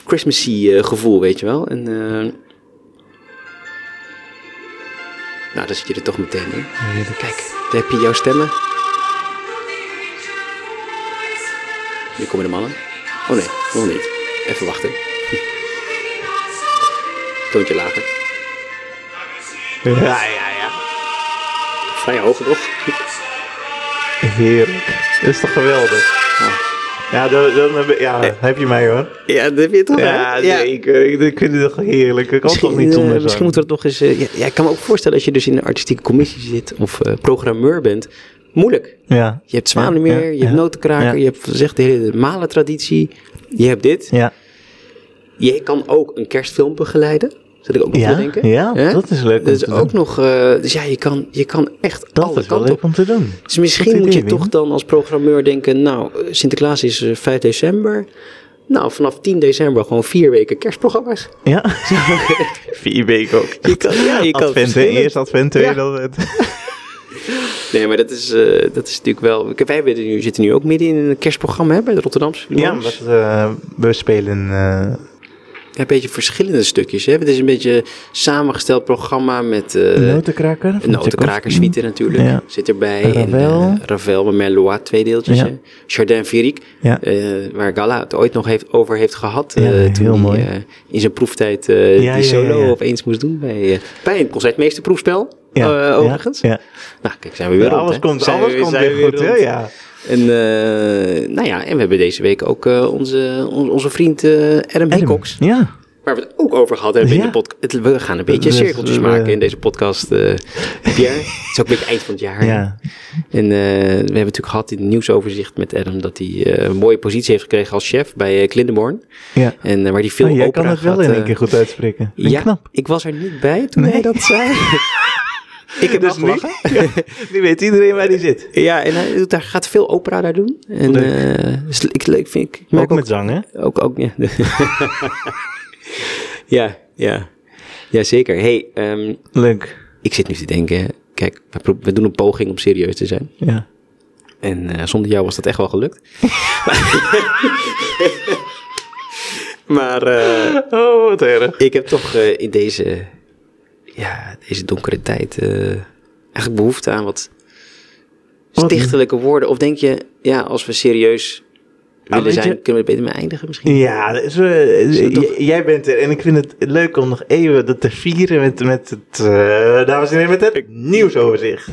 A: Christmassy eh, gevoel, weet je wel. En, eh, nou, dan zit je er toch meteen in. Kijk, daar heb je jouw stemmen. Nu komen de mannen. Oh nee, nog niet. Even wachten. Toontje lager.
B: Ja, ja, ja.
A: Vrij hoog nog.
B: Heerlijk. Dat is toch geweldig? Ja, dan, dan heb, je- ja, heb je mij hoor.
A: Ja, dat heb je toch, hè?
B: Ja, nee, ik, ik, ik vind het toch heerlijk. Ik kan toch niet
A: eh,
B: zonder
A: misschien moeten we dat nog eens... eh, ja, ja, ik kan me ook voorstellen als je dus in een artistieke commissie zit of eh, programmeur bent. Moeilijk.
B: we... Ja.
A: Je hebt Zwanenmeer,
B: Ja, ja,
A: je hebt
B: ja.
A: Notenkraker,
B: Ja.
A: je hebt zegt de hele malentraditie. Je hebt dit.
B: Ja.
A: Je kan ook een kerstfilm begeleiden. Zat ik ook nog
B: Ja,
A: te denken.
B: ja,
A: Hè?
B: dat is leuk om
A: Dat is
B: te
A: ook
B: doen.
A: nog... eh, dus ja, je kan, je kan echt
B: Dat
A: alle
B: is wel
A: kanten
B: leuk
A: op.
B: om te doen.
A: Dus misschien
B: Goed
A: moet je
B: idee, Wim.
A: toch dan als programmeur denken... Nou, eh, Sinterklaas is eh, 5 december. Nou, vanaf 10 december gewoon vier weken kerstprogramma's.
B: Ja. <laughs> Vier weken ook.
A: Je kan, ja, je kan
B: Advent, hè?
A: verschillende-
B: Eerst advent, tweede
A: Ja.
B: advent.
A: Nee, maar dat is, eh, dat is natuurlijk wel... Kijk, Wij zitten nu, zitten nu ook midden in een kerstprogramma hè, bij de Rotterdamse
B: Ja,
A: Filharmonie.
B: wat, eh, we spelen... eh,
A: Ja, een beetje verschillende stukjes. Hè? Het is een beetje een samengesteld programma met eh
B: notenkraker. van
A: een notenkrakersuite natuurlijk.
B: Ja.
A: Zit erbij.
B: Ravel.
A: En, eh, Ravel met Merlois, twee deeltjes.
B: Ja.
A: hè. Chardin Viric,
B: Ja.
A: eh, waar Gala het ooit nog heeft, over heeft gehad.
B: Ja,
A: eh, toen
B: heel
A: hij,
B: mooi.
A: eh, in zijn proeftijd eh,
B: Ja,
A: die
B: ja,
A: solo
B: ja, ja.
A: opeens moest doen bij, eh, bij een concertmeesterproefspel.
B: Ja,
A: eh,
B: ja,
A: overigens.
B: Ja,
A: Nou, kijk, zijn we weer rond.
B: alles
A: hè?
B: komt,
A: Zijn we
B: alles
A: weer-
B: komt
A: zijn
B: weer
A: we
B: goed, hè?
A: rond.
B: Ja.
A: En, eh, nou ja, en we hebben deze week ook eh, onze, on- onze vriend eh Adam Hickox.
B: Ja.
A: Waar we het ook over gehad hebben in
B: Ja.
A: de podcast. We gaan een beetje
B: Dus,
A: cirkeltjes
B: eh,
A: maken in deze podcast, eh
B: <laughs>
A: Pierre. het is ook een beetje eind van het jaar.
B: Ja.
A: En eh, we hebben natuurlijk gehad in het nieuwsoverzicht met Adam... dat hij eh, een mooie positie heeft gekregen als chef bij eh Clindeborn.
B: ja.
A: En eh, waar hij veel
B: Oh, jij
A: opera
B: kan het wel
A: gaat,
B: in
A: eh,
B: één keer goed uitspreken. Vind ik
A: Ja,
B: knap.
A: ik was er niet bij toen hij dat
B: <laughs>
A: zei. ik heb dus
B: Dus nu,
A: niet.
B: nu weet iedereen waar die zit.
A: Ja, en hij doet daar, gaat veel opera daar doen. En eh, is le- ik, leuk vind ik. ik merk
B: Ook met zang, hè?
A: Ook, ook ja. <laughs> ja, ja. Ja, zeker. hey, ehm,
B: Leuk.
A: ik zit nu te denken. Kijk, we, pro- we doen een poging om serieus te zijn.
B: Ja.
A: En eh, zonder jou was dat echt wel gelukt. <laughs> maar eh,
B: Oh, wat erg.
A: ik heb toch eh, in deze, ja, deze donkere tijd eh, eigenlijk behoefte aan wat stichtelijke woorden. Of denk je, ja, als we serieus willen
B: Nou, weet
A: zijn,
B: je-
A: kunnen we er beter mee eindigen misschien?
B: Ja, dus, eh,
A: Zullen we toch-
B: j- jij bent er en ik vind het leuk om nog even dat te vieren met, met het, eh, dames en heren, met het nieuwsoverzicht.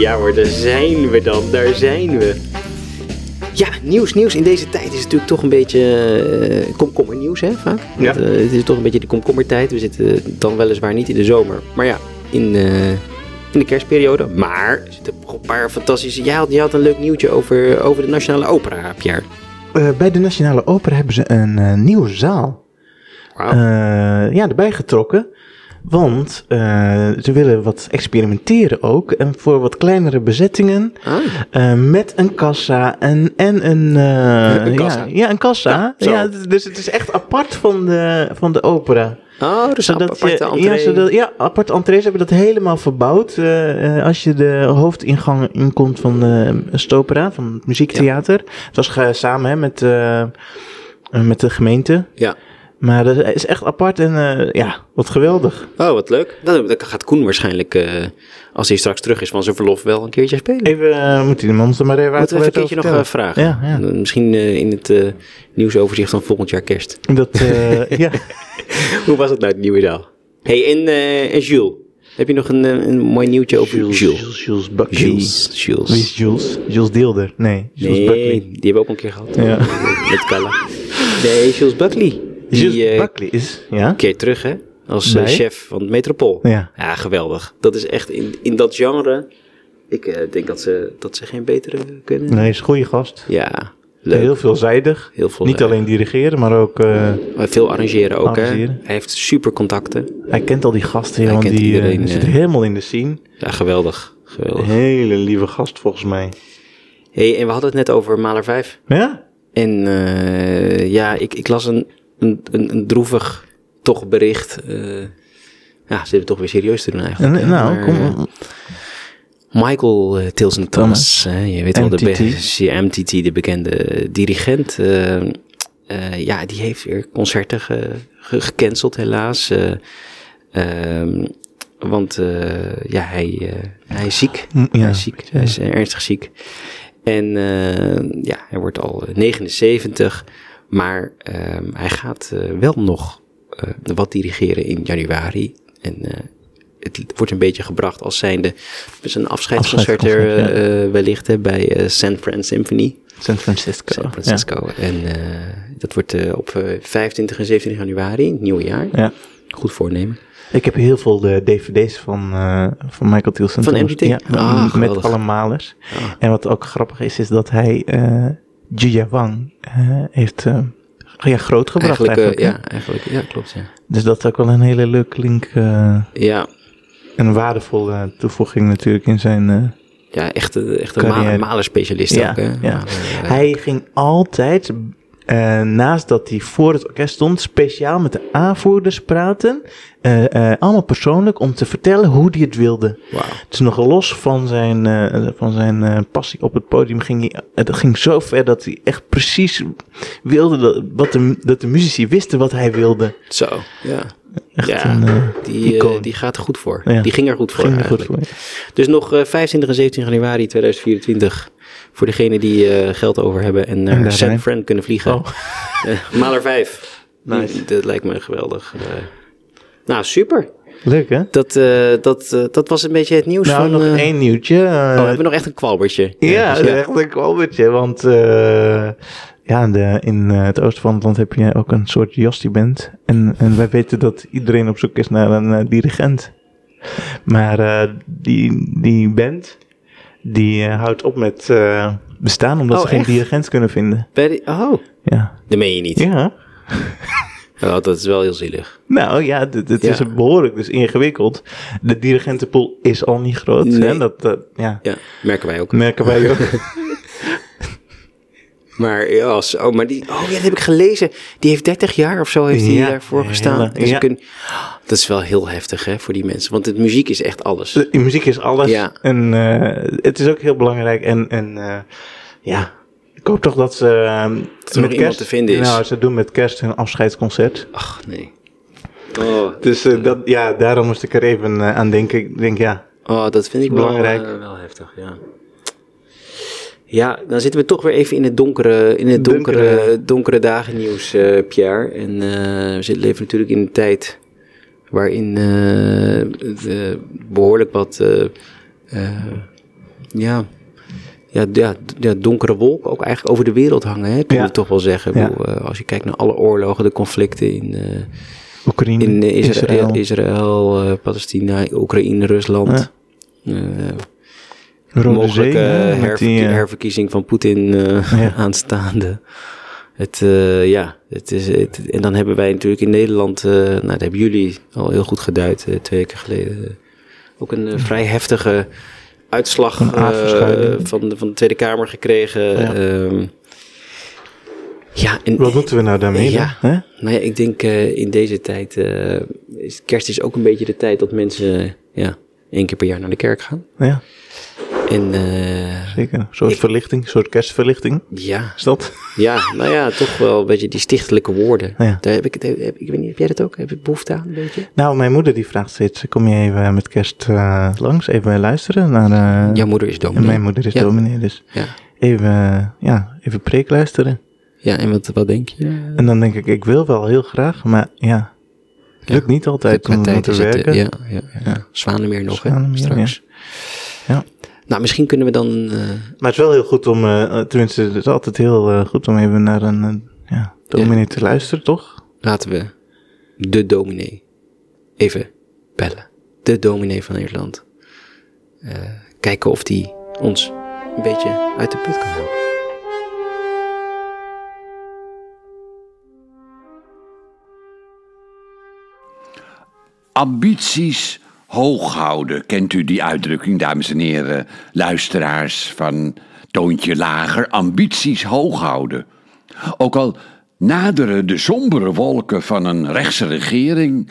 A: Ja hoor, daar zijn we dan, daar zijn we. Ja, nieuws, nieuws in deze tijd is natuurlijk toch een beetje eh komkommernieuws, hè, vaak.
B: Ja.
A: Want, eh, het is toch een beetje de komkommertijd. We zitten dan weliswaar niet in de zomer, maar ja, in, eh, in de kerstperiode. Maar er zitten nog een paar fantastische... Jij had, jij had een leuk nieuwtje over, over de Nationale Opera, Pierre.
B: Eh, bij de Nationale Opera hebben ze een eh, nieuwe zaal
A: Wauw.
B: eh, ja, erbij getrokken. Want eh, ze willen wat experimenteren ook. En voor wat kleinere bezettingen
A: Ah,
B: Eh, met een kassa en, en een, eh,
A: Een kassa.
B: Ja, ja, een kassa.
A: zo.
B: Ja, d- dus het is echt apart van de, van de opera.
A: oh, dus een
B: je-
A: aparte
B: Ja,
A: entree.
B: zodat, ja, apart entrees hebben dat helemaal verbouwd. Eh, eh, als je de hoofdingang inkomt van de eh, Stopera, van het muziektheater. Het was ge- samen hè, met, eh, eh, met de gemeente.
A: Ja.
B: Maar dat is echt apart en eh, ja, wat geweldig.
A: Oh, wat leuk. Dan, dan gaat Koen waarschijnlijk, eh, als hij straks terug is van zijn verlof, wel een keertje spelen.
B: Even, eh, moet die de monster maar even
A: Moeten we even een
B: uitgebreid
A: keertje nog eh,
B: over
A: vragen?
B: Ja, ja.
A: Dan Misschien eh, in het eh, nieuwsoverzicht van volgend jaar kerst. <laughs>
B: vertellen. Dat, eh, ja.
A: Hoe was het nou, het nieuwe zaal? hey, en, eh, en Jules? Heb je nog een, eh, een mooi nieuwtje over Jules? Jules,
B: Jules, Jules Buckley.
A: Jules.
B: Wie is Jules? Jules Deelder. Nee, Jules
A: Nee,
B: Buckley.
A: die hebben we ook een keer gehad.
B: Ja.
A: <laughs> Met Kalla. Nee, Jules Buckley.
B: Jules
A: die eh,
B: Buckley is, ja?
A: een keer terug, hè? Als eh,
B: Bij?
A: chef van het Metropool.
B: Ja.
A: geweldig. Dat is echt in, in dat genre. Ik eh, denk dat ze, dat ze geen betere kunnen.
B: Nee, is een goede gast.
A: Ja, leuk.
B: Heel veelzijdig.
A: Heel veel eh,
B: Niet alleen dirigeren, maar ook... eh,
A: Maar Veel arrangeren ook,
B: Arrangeren.
A: hè? Hij heeft super contacten.
B: hij kent al die gasten,
A: Hij
B: want
A: kent
B: die eh,
A: iedereen,
B: zit
A: eh.
B: helemaal in de scene.
A: Ja, geweldig. Geweldig.
B: Hele lieve gast, volgens mij.
A: hey, en we hadden het net over Maler 5.
B: Ja?
A: En eh, ja, ik, ik las een, een, een, een droevig toch bericht. eh ja, ze hebben het toch weer serieus te doen eigenlijk.
B: En,
A: hè,
B: nou,
A: maar,
B: kom...
A: eh, Michael eh, Tilson Thomas, hè, je weet wel, de,
B: MTT.
A: be- MTT, de bekende dirigent. eh, eh, ja, die heeft weer concerten ge- ge- gecanceld, helaas. eh, ehm, want eh, ja, hij, eh, hij is ziek.
B: Mm, ja,
A: hij is ziek. Hij is eh, ernstig ziek. En eh, ja, hij wordt al eh, 79. Maar ehm, hij gaat eh, wel nog eh, wat dirigeren in januari. En eh, het wordt een beetje gebracht als zijnde zijn afscheidsconcert er
B: Afscheidsconcert,
A: eh, wellicht hè, bij eh, San Fran Symphony.
B: San Francisco.
A: San Francisco. En eh, dat wordt eh, op eh, 25 en 27 januari, het nieuwe jaar.
B: Ja. ja.
A: Goed voornemen.
B: Ik heb heel veel eh, dvd's van, eh, van Michael Tilson.
A: Van
B: Thomas.
A: MGT?
B: Ja,
A: Ah,
B: m-
A: geweldig.
B: met alle malers. En wat ook grappig is, is dat hij eh Julia Wang eh, heeft eh, ja, groot gebracht
A: Eigenlijk,
B: eigenlijk.
A: eh, ja,
B: hè.
A: eigenlijk, ja, klopt. Ja,
B: Dus dat is ook wel een hele leuke link eh,
A: ja,
B: en een waardevolle eh, toevoeging natuurlijk in zijn... eh,
A: ja echt, eh, echt een
B: Carrière.
A: ma- malerspecialist
B: ja,
F: <laughs>
A: ook. Hè?
B: ja.
A: Maler, eh,
B: Hij ging altijd eh, naast dat hij voor het orkest stond, speciaal met de aanvoerders praten. eh, eh, allemaal persoonlijk om te vertellen hoe hij het wilde. Het is nog los van zijn, eh, van zijn eh, passie op het podium. Ging hij, het ging zo ver dat hij echt precies wilde dat, wat de, dat de muzici wisten wat hij wilde.
A: Zo, ja.
B: Echt
A: ja,
B: een, eh,
A: die, eh,
B: icoon.
A: die gaat er goed voor.
B: Ja.
A: Die ging er goed voor
B: ging er goed
A: eigenlijk.
B: voor.
A: Dus nog eh, 25 en 17 januari 2024. Voor degenen die eh, geld over hebben en
B: En
A: naar
B: daar
A: San
B: zijn.
A: Fran kunnen vliegen.
B: Oh.
A: Eh, maal er
B: <laughs>
A: 5. Nice. Dat lijkt me geweldig. Eh, nou, super.
B: Leuk hè?
A: Dat, eh, dat, eh, dat was een beetje het nieuws
B: Nou,
A: van...
B: nog
A: eh,
B: één nieuwtje. eh,
A: Oh, we hebben nog echt een kwalbertje.
B: Ja,
A: dus
B: dat is echt een kwalbertje. Want eh, ja, de, in eh, het oosten van het land heb je ook een soort Jostie-band. En, en wij weten dat iedereen op zoek is naar een eh, dirigent. Maar eh, die, die band, die eh, houdt op met eh, bestaan omdat
A: Oh,
B: ze geen
A: echt?
B: dirigent kunnen vinden.
A: Ben je- Oh,
B: Ja.
A: dat meen je niet.
B: ja.
A: Oh, dat is wel heel zielig.
B: Nou ja, dit- dit
A: Ja.
B: is behoorlijk dus ingewikkeld. De dirigentenpool is al niet groot.
A: Nee.
B: Hè? Dat, dat, ja.
A: Ja, merken wij ook.
B: Merken wij ook.
A: Maar, ja, als, oh, maar die, oh ja, dat heb ik gelezen. Die heeft 30 jaar of zo heeft hij
B: Ja,
A: daarvoor
B: ja,
A: gestaan.
B: ja.
A: Dus we
B: Ja.
A: kunnen- dat is wel heel heftig hè, voor die mensen. Want het muziek is echt alles.
B: De muziek is alles.
A: Ja.
B: En eh, het is ook heel belangrijk. En, en eh, ja, ik hoop toch dat ze eh,
A: er nog iemand te vinden is.
B: Nou, ze doen met kerst hun afscheidsconcert.
A: Ach, nee. Oh,
B: Dus eh, dat, ja, daarom moest ik er even eh, aan denken. Ik denk, ja,
A: oh, dat vind ik wel,
B: Belangrijk.
A: eh, wel heftig, ja. Ja, dan zitten we toch weer even in het donkere, in het donkere, donkere.
B: Donkere.
A: dagen nieuws, eh, Pierre. En eh, we zitten leven natuurlijk in een tijd waarin eh, het, eh, behoorlijk wat eh, eh, ja, ja, ja, d- ja, donkere wolken ook eigenlijk over de wereld hangen, hè, kunnen
B: Ja.
A: we toch wel zeggen. Ik
B: Ja.
A: bedoel, eh, als je kijkt naar alle oorlogen, de conflicten in, eh,
B: Oekraïne,
A: in eh, Israël,
B: Israël,
A: Israël, eh, Palestina, Oekraïne, Rusland. Eh,
B: Rode
A: mogelijke
B: Zee, hè, met
A: herverkie-
B: die, eh,
A: herverkiezing van Poetin eh,
B: Ja.
A: <laughs> aanstaande. Het, eh, ja, het is, het- en dan hebben wij natuurlijk in Nederland, eh, nou, dat hebben jullie al heel goed geduid eh, twee weken geleden, eh, ook een eh, vrij heftige uitslag
B: Een
A: eh,
B: aardverschuiving.
A: van, de- van de Tweede Kamer gekregen.
B: Ja.
A: Ehm, ja, en,
B: Wat moeten we nou daarmee
A: Ja.
B: dan? Hè?
A: nou ja, ik denk eh, in deze tijd, eh, is, kerst is ook een beetje de tijd dat mensen eh, ja, één keer per jaar naar de kerk gaan.
B: Ja,
A: En eh,
B: zeker. Een soort verlichting, een soort kerstverlichting.
A: ja,
B: Is dat? <laughs>
A: ja, nou ja, toch wel een beetje die stichtelijke woorden.
B: Ja.
A: Daar heb ik, het- heb, ik weet niet, heb jij dat ook? Heb je behoefte aan een beetje?
B: Nou, mijn moeder die vraagt steeds, kom je even met kerst eh, langs? Even luisteren naar... eh,
A: Jouw moeder is
B: en
A: dominee.
B: mijn moeder is
A: Ja.
B: dominee, dus
A: Ja,
B: even, eh, ja, even preek luisteren.
A: ja en wat, wat denk je?
B: En dan denk ik, ik wil wel heel graag, maar ja, het lukt niet altijd om
A: tijd
B: te
A: is het, eh,
B: werken.
A: ja, ja, ja. Zwanemeer nog, hè,
B: Zwanemeer,
A: straks.
B: ja. Ja.
A: Nou, misschien kunnen we dan... eh,
B: Maar het is wel heel goed om, eh, tenminste, het is altijd heel eh, goed om even naar een eh, ja, dominee te luisteren, toch?
A: laten we de dominee even bellen. De dominee van Nederland. Eh, kijken of die ons een beetje uit de put kan helpen.
I: ambities hoog houden. Kent u die uitdrukking, dames en heren, luisteraars van Toontje Lager? Ambities hoog houden. Ook al naderen de sombere wolken van een rechtse regering,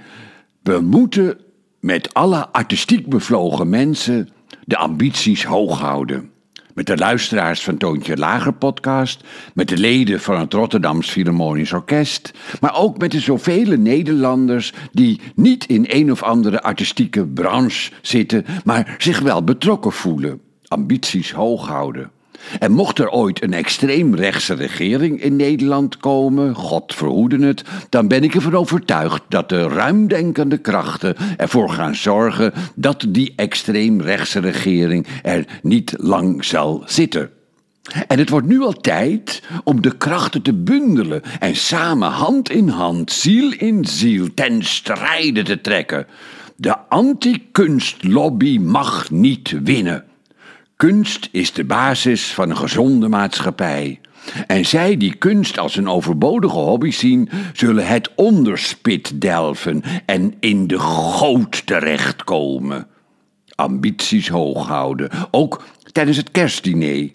I: we moeten met alle artistiek bevlogen mensen de ambities hoog houden. Met de luisteraars van Toontje Lager podcast, met de leden van het Rotterdams Philharmonisch Orkest, maar ook met de zoveel Nederlanders die niet in een of andere artistieke branche zitten, maar zich wel betrokken voelen, ambities hoog houden. En mocht er ooit een extreemrechtse regering in Nederland komen, God verhoede het, dan ben ik ervan overtuigd dat de ruimdenkende krachten ervoor gaan zorgen dat die extreemrechtse regering er niet lang zal zitten. En het wordt nu al tijd om de krachten te bundelen en samen hand in hand, ziel in ziel, ten strijde te trekken. De anti-kunstlobby mag niet winnen. Kunst is de basis van een gezonde maatschappij. En zij die kunst als een overbodige hobby zien, zullen het onderspit delven en in de goot terechtkomen. Ambities hoog houden, ook tijdens het kerstdiner.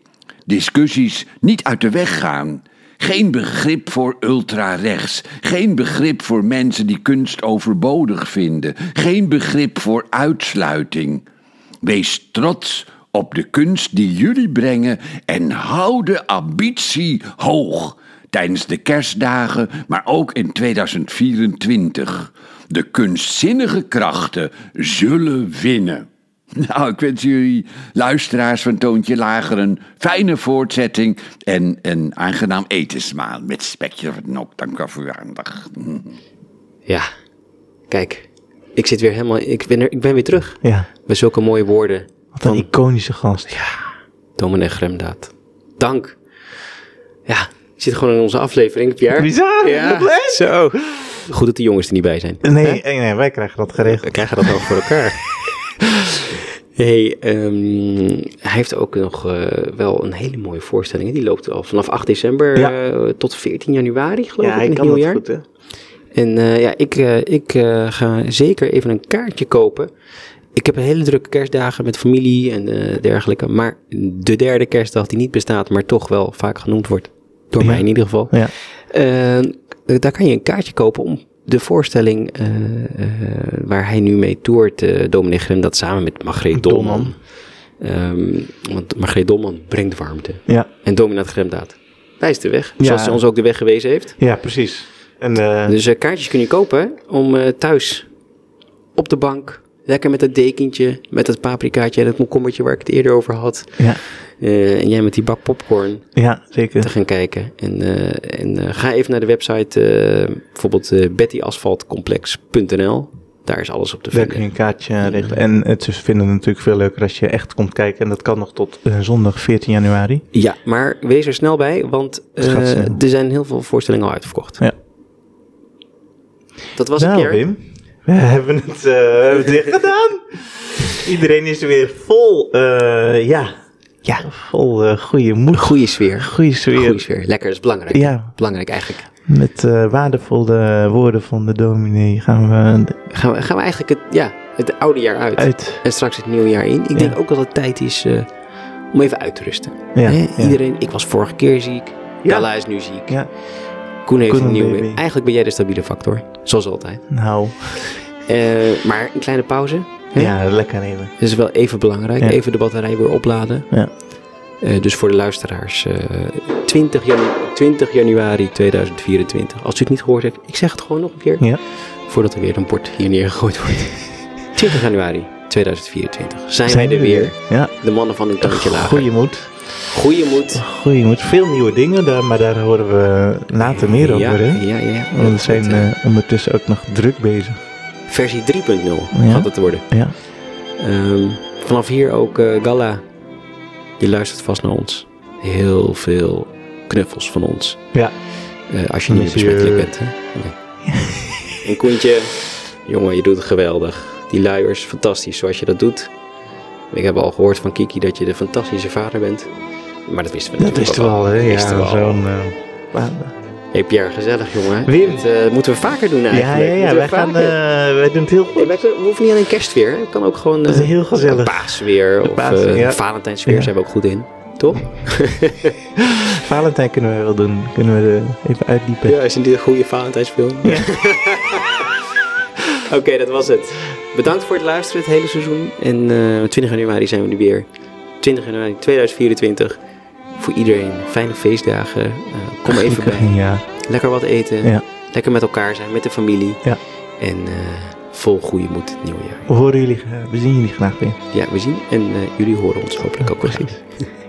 I: Discussies niet uit de weg gaan. Geen begrip voor ultrarechts. Geen begrip voor mensen die kunst overbodig vinden. Geen begrip voor uitsluiting. Wees trots op de kunst die jullie brengen en hou de ambitie hoog. Tijdens de kerstdagen, maar ook in 2024. De kunstzinnige krachten zullen winnen. <laughs> Nou, ik wens jullie, luisteraars van Toontje Lager, een fijne voortzetting en een aangenaam etensmaal met spekje van nok. Dank wel voor uw aandacht.
A: Ja, kijk. Ik zit weer helemaal... Ik ben, er, ik ben weer terug.
B: Ja,
A: Met zulke mooie woorden
B: wat een iconische gast.
A: Dominee Gremdaad. Dank. Ja, je zit gewoon in onze aflevering, Pierre.
B: Bizar,
A: Ja,
B: blij.
A: zo. Goed dat de jongens er niet bij zijn.
B: Nee, eh, nee, nee, wij krijgen dat
A: We
B: geregeld.
A: krijgen dat wel voor elkaar. <laughs> Hey, ehm, hij heeft ook nog eh, wel een hele mooie voorstelling. hè? Die loopt al vanaf 8 december
B: Ja.
A: eh, tot 14 januari, geloof ik, in het
B: dat
A: nieuwjaar.
B: hè?
A: En eh, ja, ik, eh, ik eh, ga zeker even een kaartje kopen. Ik heb een hele drukke kerstdagen met familie en eh, dergelijke. Maar de derde kerstdag die niet bestaat, maar toch wel vaak genoemd wordt. Door
B: Ja.
A: mij in ieder geval.
B: Ja.
A: Eh, daar kan je een kaartje kopen om de voorstelling eh, eh, waar hij nu mee toert, eh Dominic Grem, dat samen met Margreet Dolman. Ehm, want Margreet Dolman brengt warmte.
B: Ja.
A: En Dominat Gremdaad wijst de weg.
B: Ja.
A: Zoals ze ons ook de weg gewezen heeft.
B: ja, precies. En eh,
A: Dus eh, kaartjes kun je kopen om eh, thuis op de bank, lekker met dat dekentje, met dat paprikaatje en het komkommertje waar ik het eerder over had.
B: ja,
A: eh, en jij met die bak popcorn
B: ja, zeker.
A: te gaan kijken. En, eh, en eh, ga even naar de website, eh, bijvoorbeeld eh, bettyasfaltcomplex.nl. Daar is alles op te
B: Daar kun je
A: vinden.
B: een kaartje regelen. En het is, vinden het natuurlijk veel leuker als je echt komt kijken. En dat kan nog tot eh, zondag 14 januari.
A: Ja, maar wees er snel bij, want
B: Het gaat
A: eh,
B: snel.
A: er zijn heel veel voorstellingen al uitverkocht.
B: Ja.
A: Dat was het,
B: nou,
A: Pierre.
B: Wim, we hebben het, eh, we hebben het weer gedaan. Iedereen is weer vol, eh, ja,
A: Ja,
B: vol eh, goede moed,
A: goede sfeer.
B: goede sfeer.
A: Goede sfeer. Lekker, dat is belangrijk.
B: Ja,
A: Belangrijk eigenlijk.
B: met eh, waardevolle woorden van de dominee gaan we
A: gaan we, gaan we eigenlijk het, ja, het oude jaar uit.
B: uit.
A: En straks het nieuwe jaar in. Ik
B: Ja.
A: denk ook dat het tijd is eh, om even uit te rusten.
B: Ja,
A: Hè?
B: ja.
A: Iedereen, ik was vorige keer ziek.
B: Ja.
A: Dalla is nu ziek.
B: Ja.
A: Koen heeft
B: Koen
A: een
B: een
A: nieuwe.
B: baby.
A: Eigenlijk ben jij de stabiele factor. Zoals altijd.
B: Nou,
A: Eh, maar een kleine pauze. Hè?
B: ja, lekker even.
A: Dat is wel even belangrijk.
B: Ja.
A: Even de batterij weer opladen.
B: Ja.
A: Eh, dus voor de luisteraars, eh, 20, janu- 20 januari 2024. Als u het niet gehoord hebt, ik zeg het gewoon nog een keer.
B: Ja.
A: Voordat er weer een bord hier neergegooid
B: <laughs>
A: wordt. 20 januari 2024. Zijn, wij er
B: we
A: weer.
B: Ja,
A: De mannen van een tandje lager.
B: goede moed.
A: Goeie moed.
B: Goeie moed. Veel nieuwe dingen, daar, maar daar horen we later meer
A: ja,
B: over. Hè?
A: Ja, ja.
B: Want we zijn
A: Dat, eh,
B: eh, ondertussen ook nog druk bezig.
A: versie 3.0
B: Ja.
A: gaat het worden.
B: Ja.
A: Ehm, vanaf hier ook eh, Gala. Je luistert vast naar ons. Heel veel knuffels van ons.
B: Ja.
A: Eh, als je niet meer
B: Monsieur.
A: besmettelijk bent, hè? Nee. en Koentje, jongen, je doet het geweldig. Die luiers, fantastisch zoals je dat doet. Ik heb al gehoord van Kiki dat je de fantastische vader bent. Maar dat wisten we
B: Dat
A: natuurlijk
B: is wel, hè?
A: Dat
B: Ja,
A: wisten we al.
B: zo'n... eh,
A: Hey Pierre, gezellig jongen.
B: Wim.
A: Dat eh, moeten we vaker doen eigenlijk.
B: ja, ja, ja.
A: Moeten we
B: Wij, gaan,
A: vaker-
B: eh, wij doen het heel goed.
A: Hey, wij kunnen- we hoeven niet aan een kerstweer. hè. Het kan ook gewoon
B: Dat is
A: eh,
B: heel
A: een
B: gezellig.
A: paasweer of
B: paas,
A: eh,
B: ja.
A: een Valentijnsweer
B: Ja.
A: zijn we ook goed in. Toch?
B: Valentijn kunnen we wel doen. Kunnen we eh, even
A: <laughs>
B: uitdiepen.
A: Ja, is dit een goede Valentijnsfilm? <laughs> Oké, dat was het. Bedankt voor het luisteren het hele seizoen. En eh 20 januari zijn we er weer. 20 januari 2024. Voor iedereen fijne feestdagen. Eh, kom even bij.
B: Ja.
A: Lekker wat eten.
B: Ja.
A: Lekker met elkaar zijn, met de familie.
B: Ja.
A: En eh, vol goede moed het nieuwe jaar.
B: We horen jullie, eh, we zien jullie graag weer.
A: Ja, we zien en eh, jullie horen ons hopelijk ook weer.
B: Precies.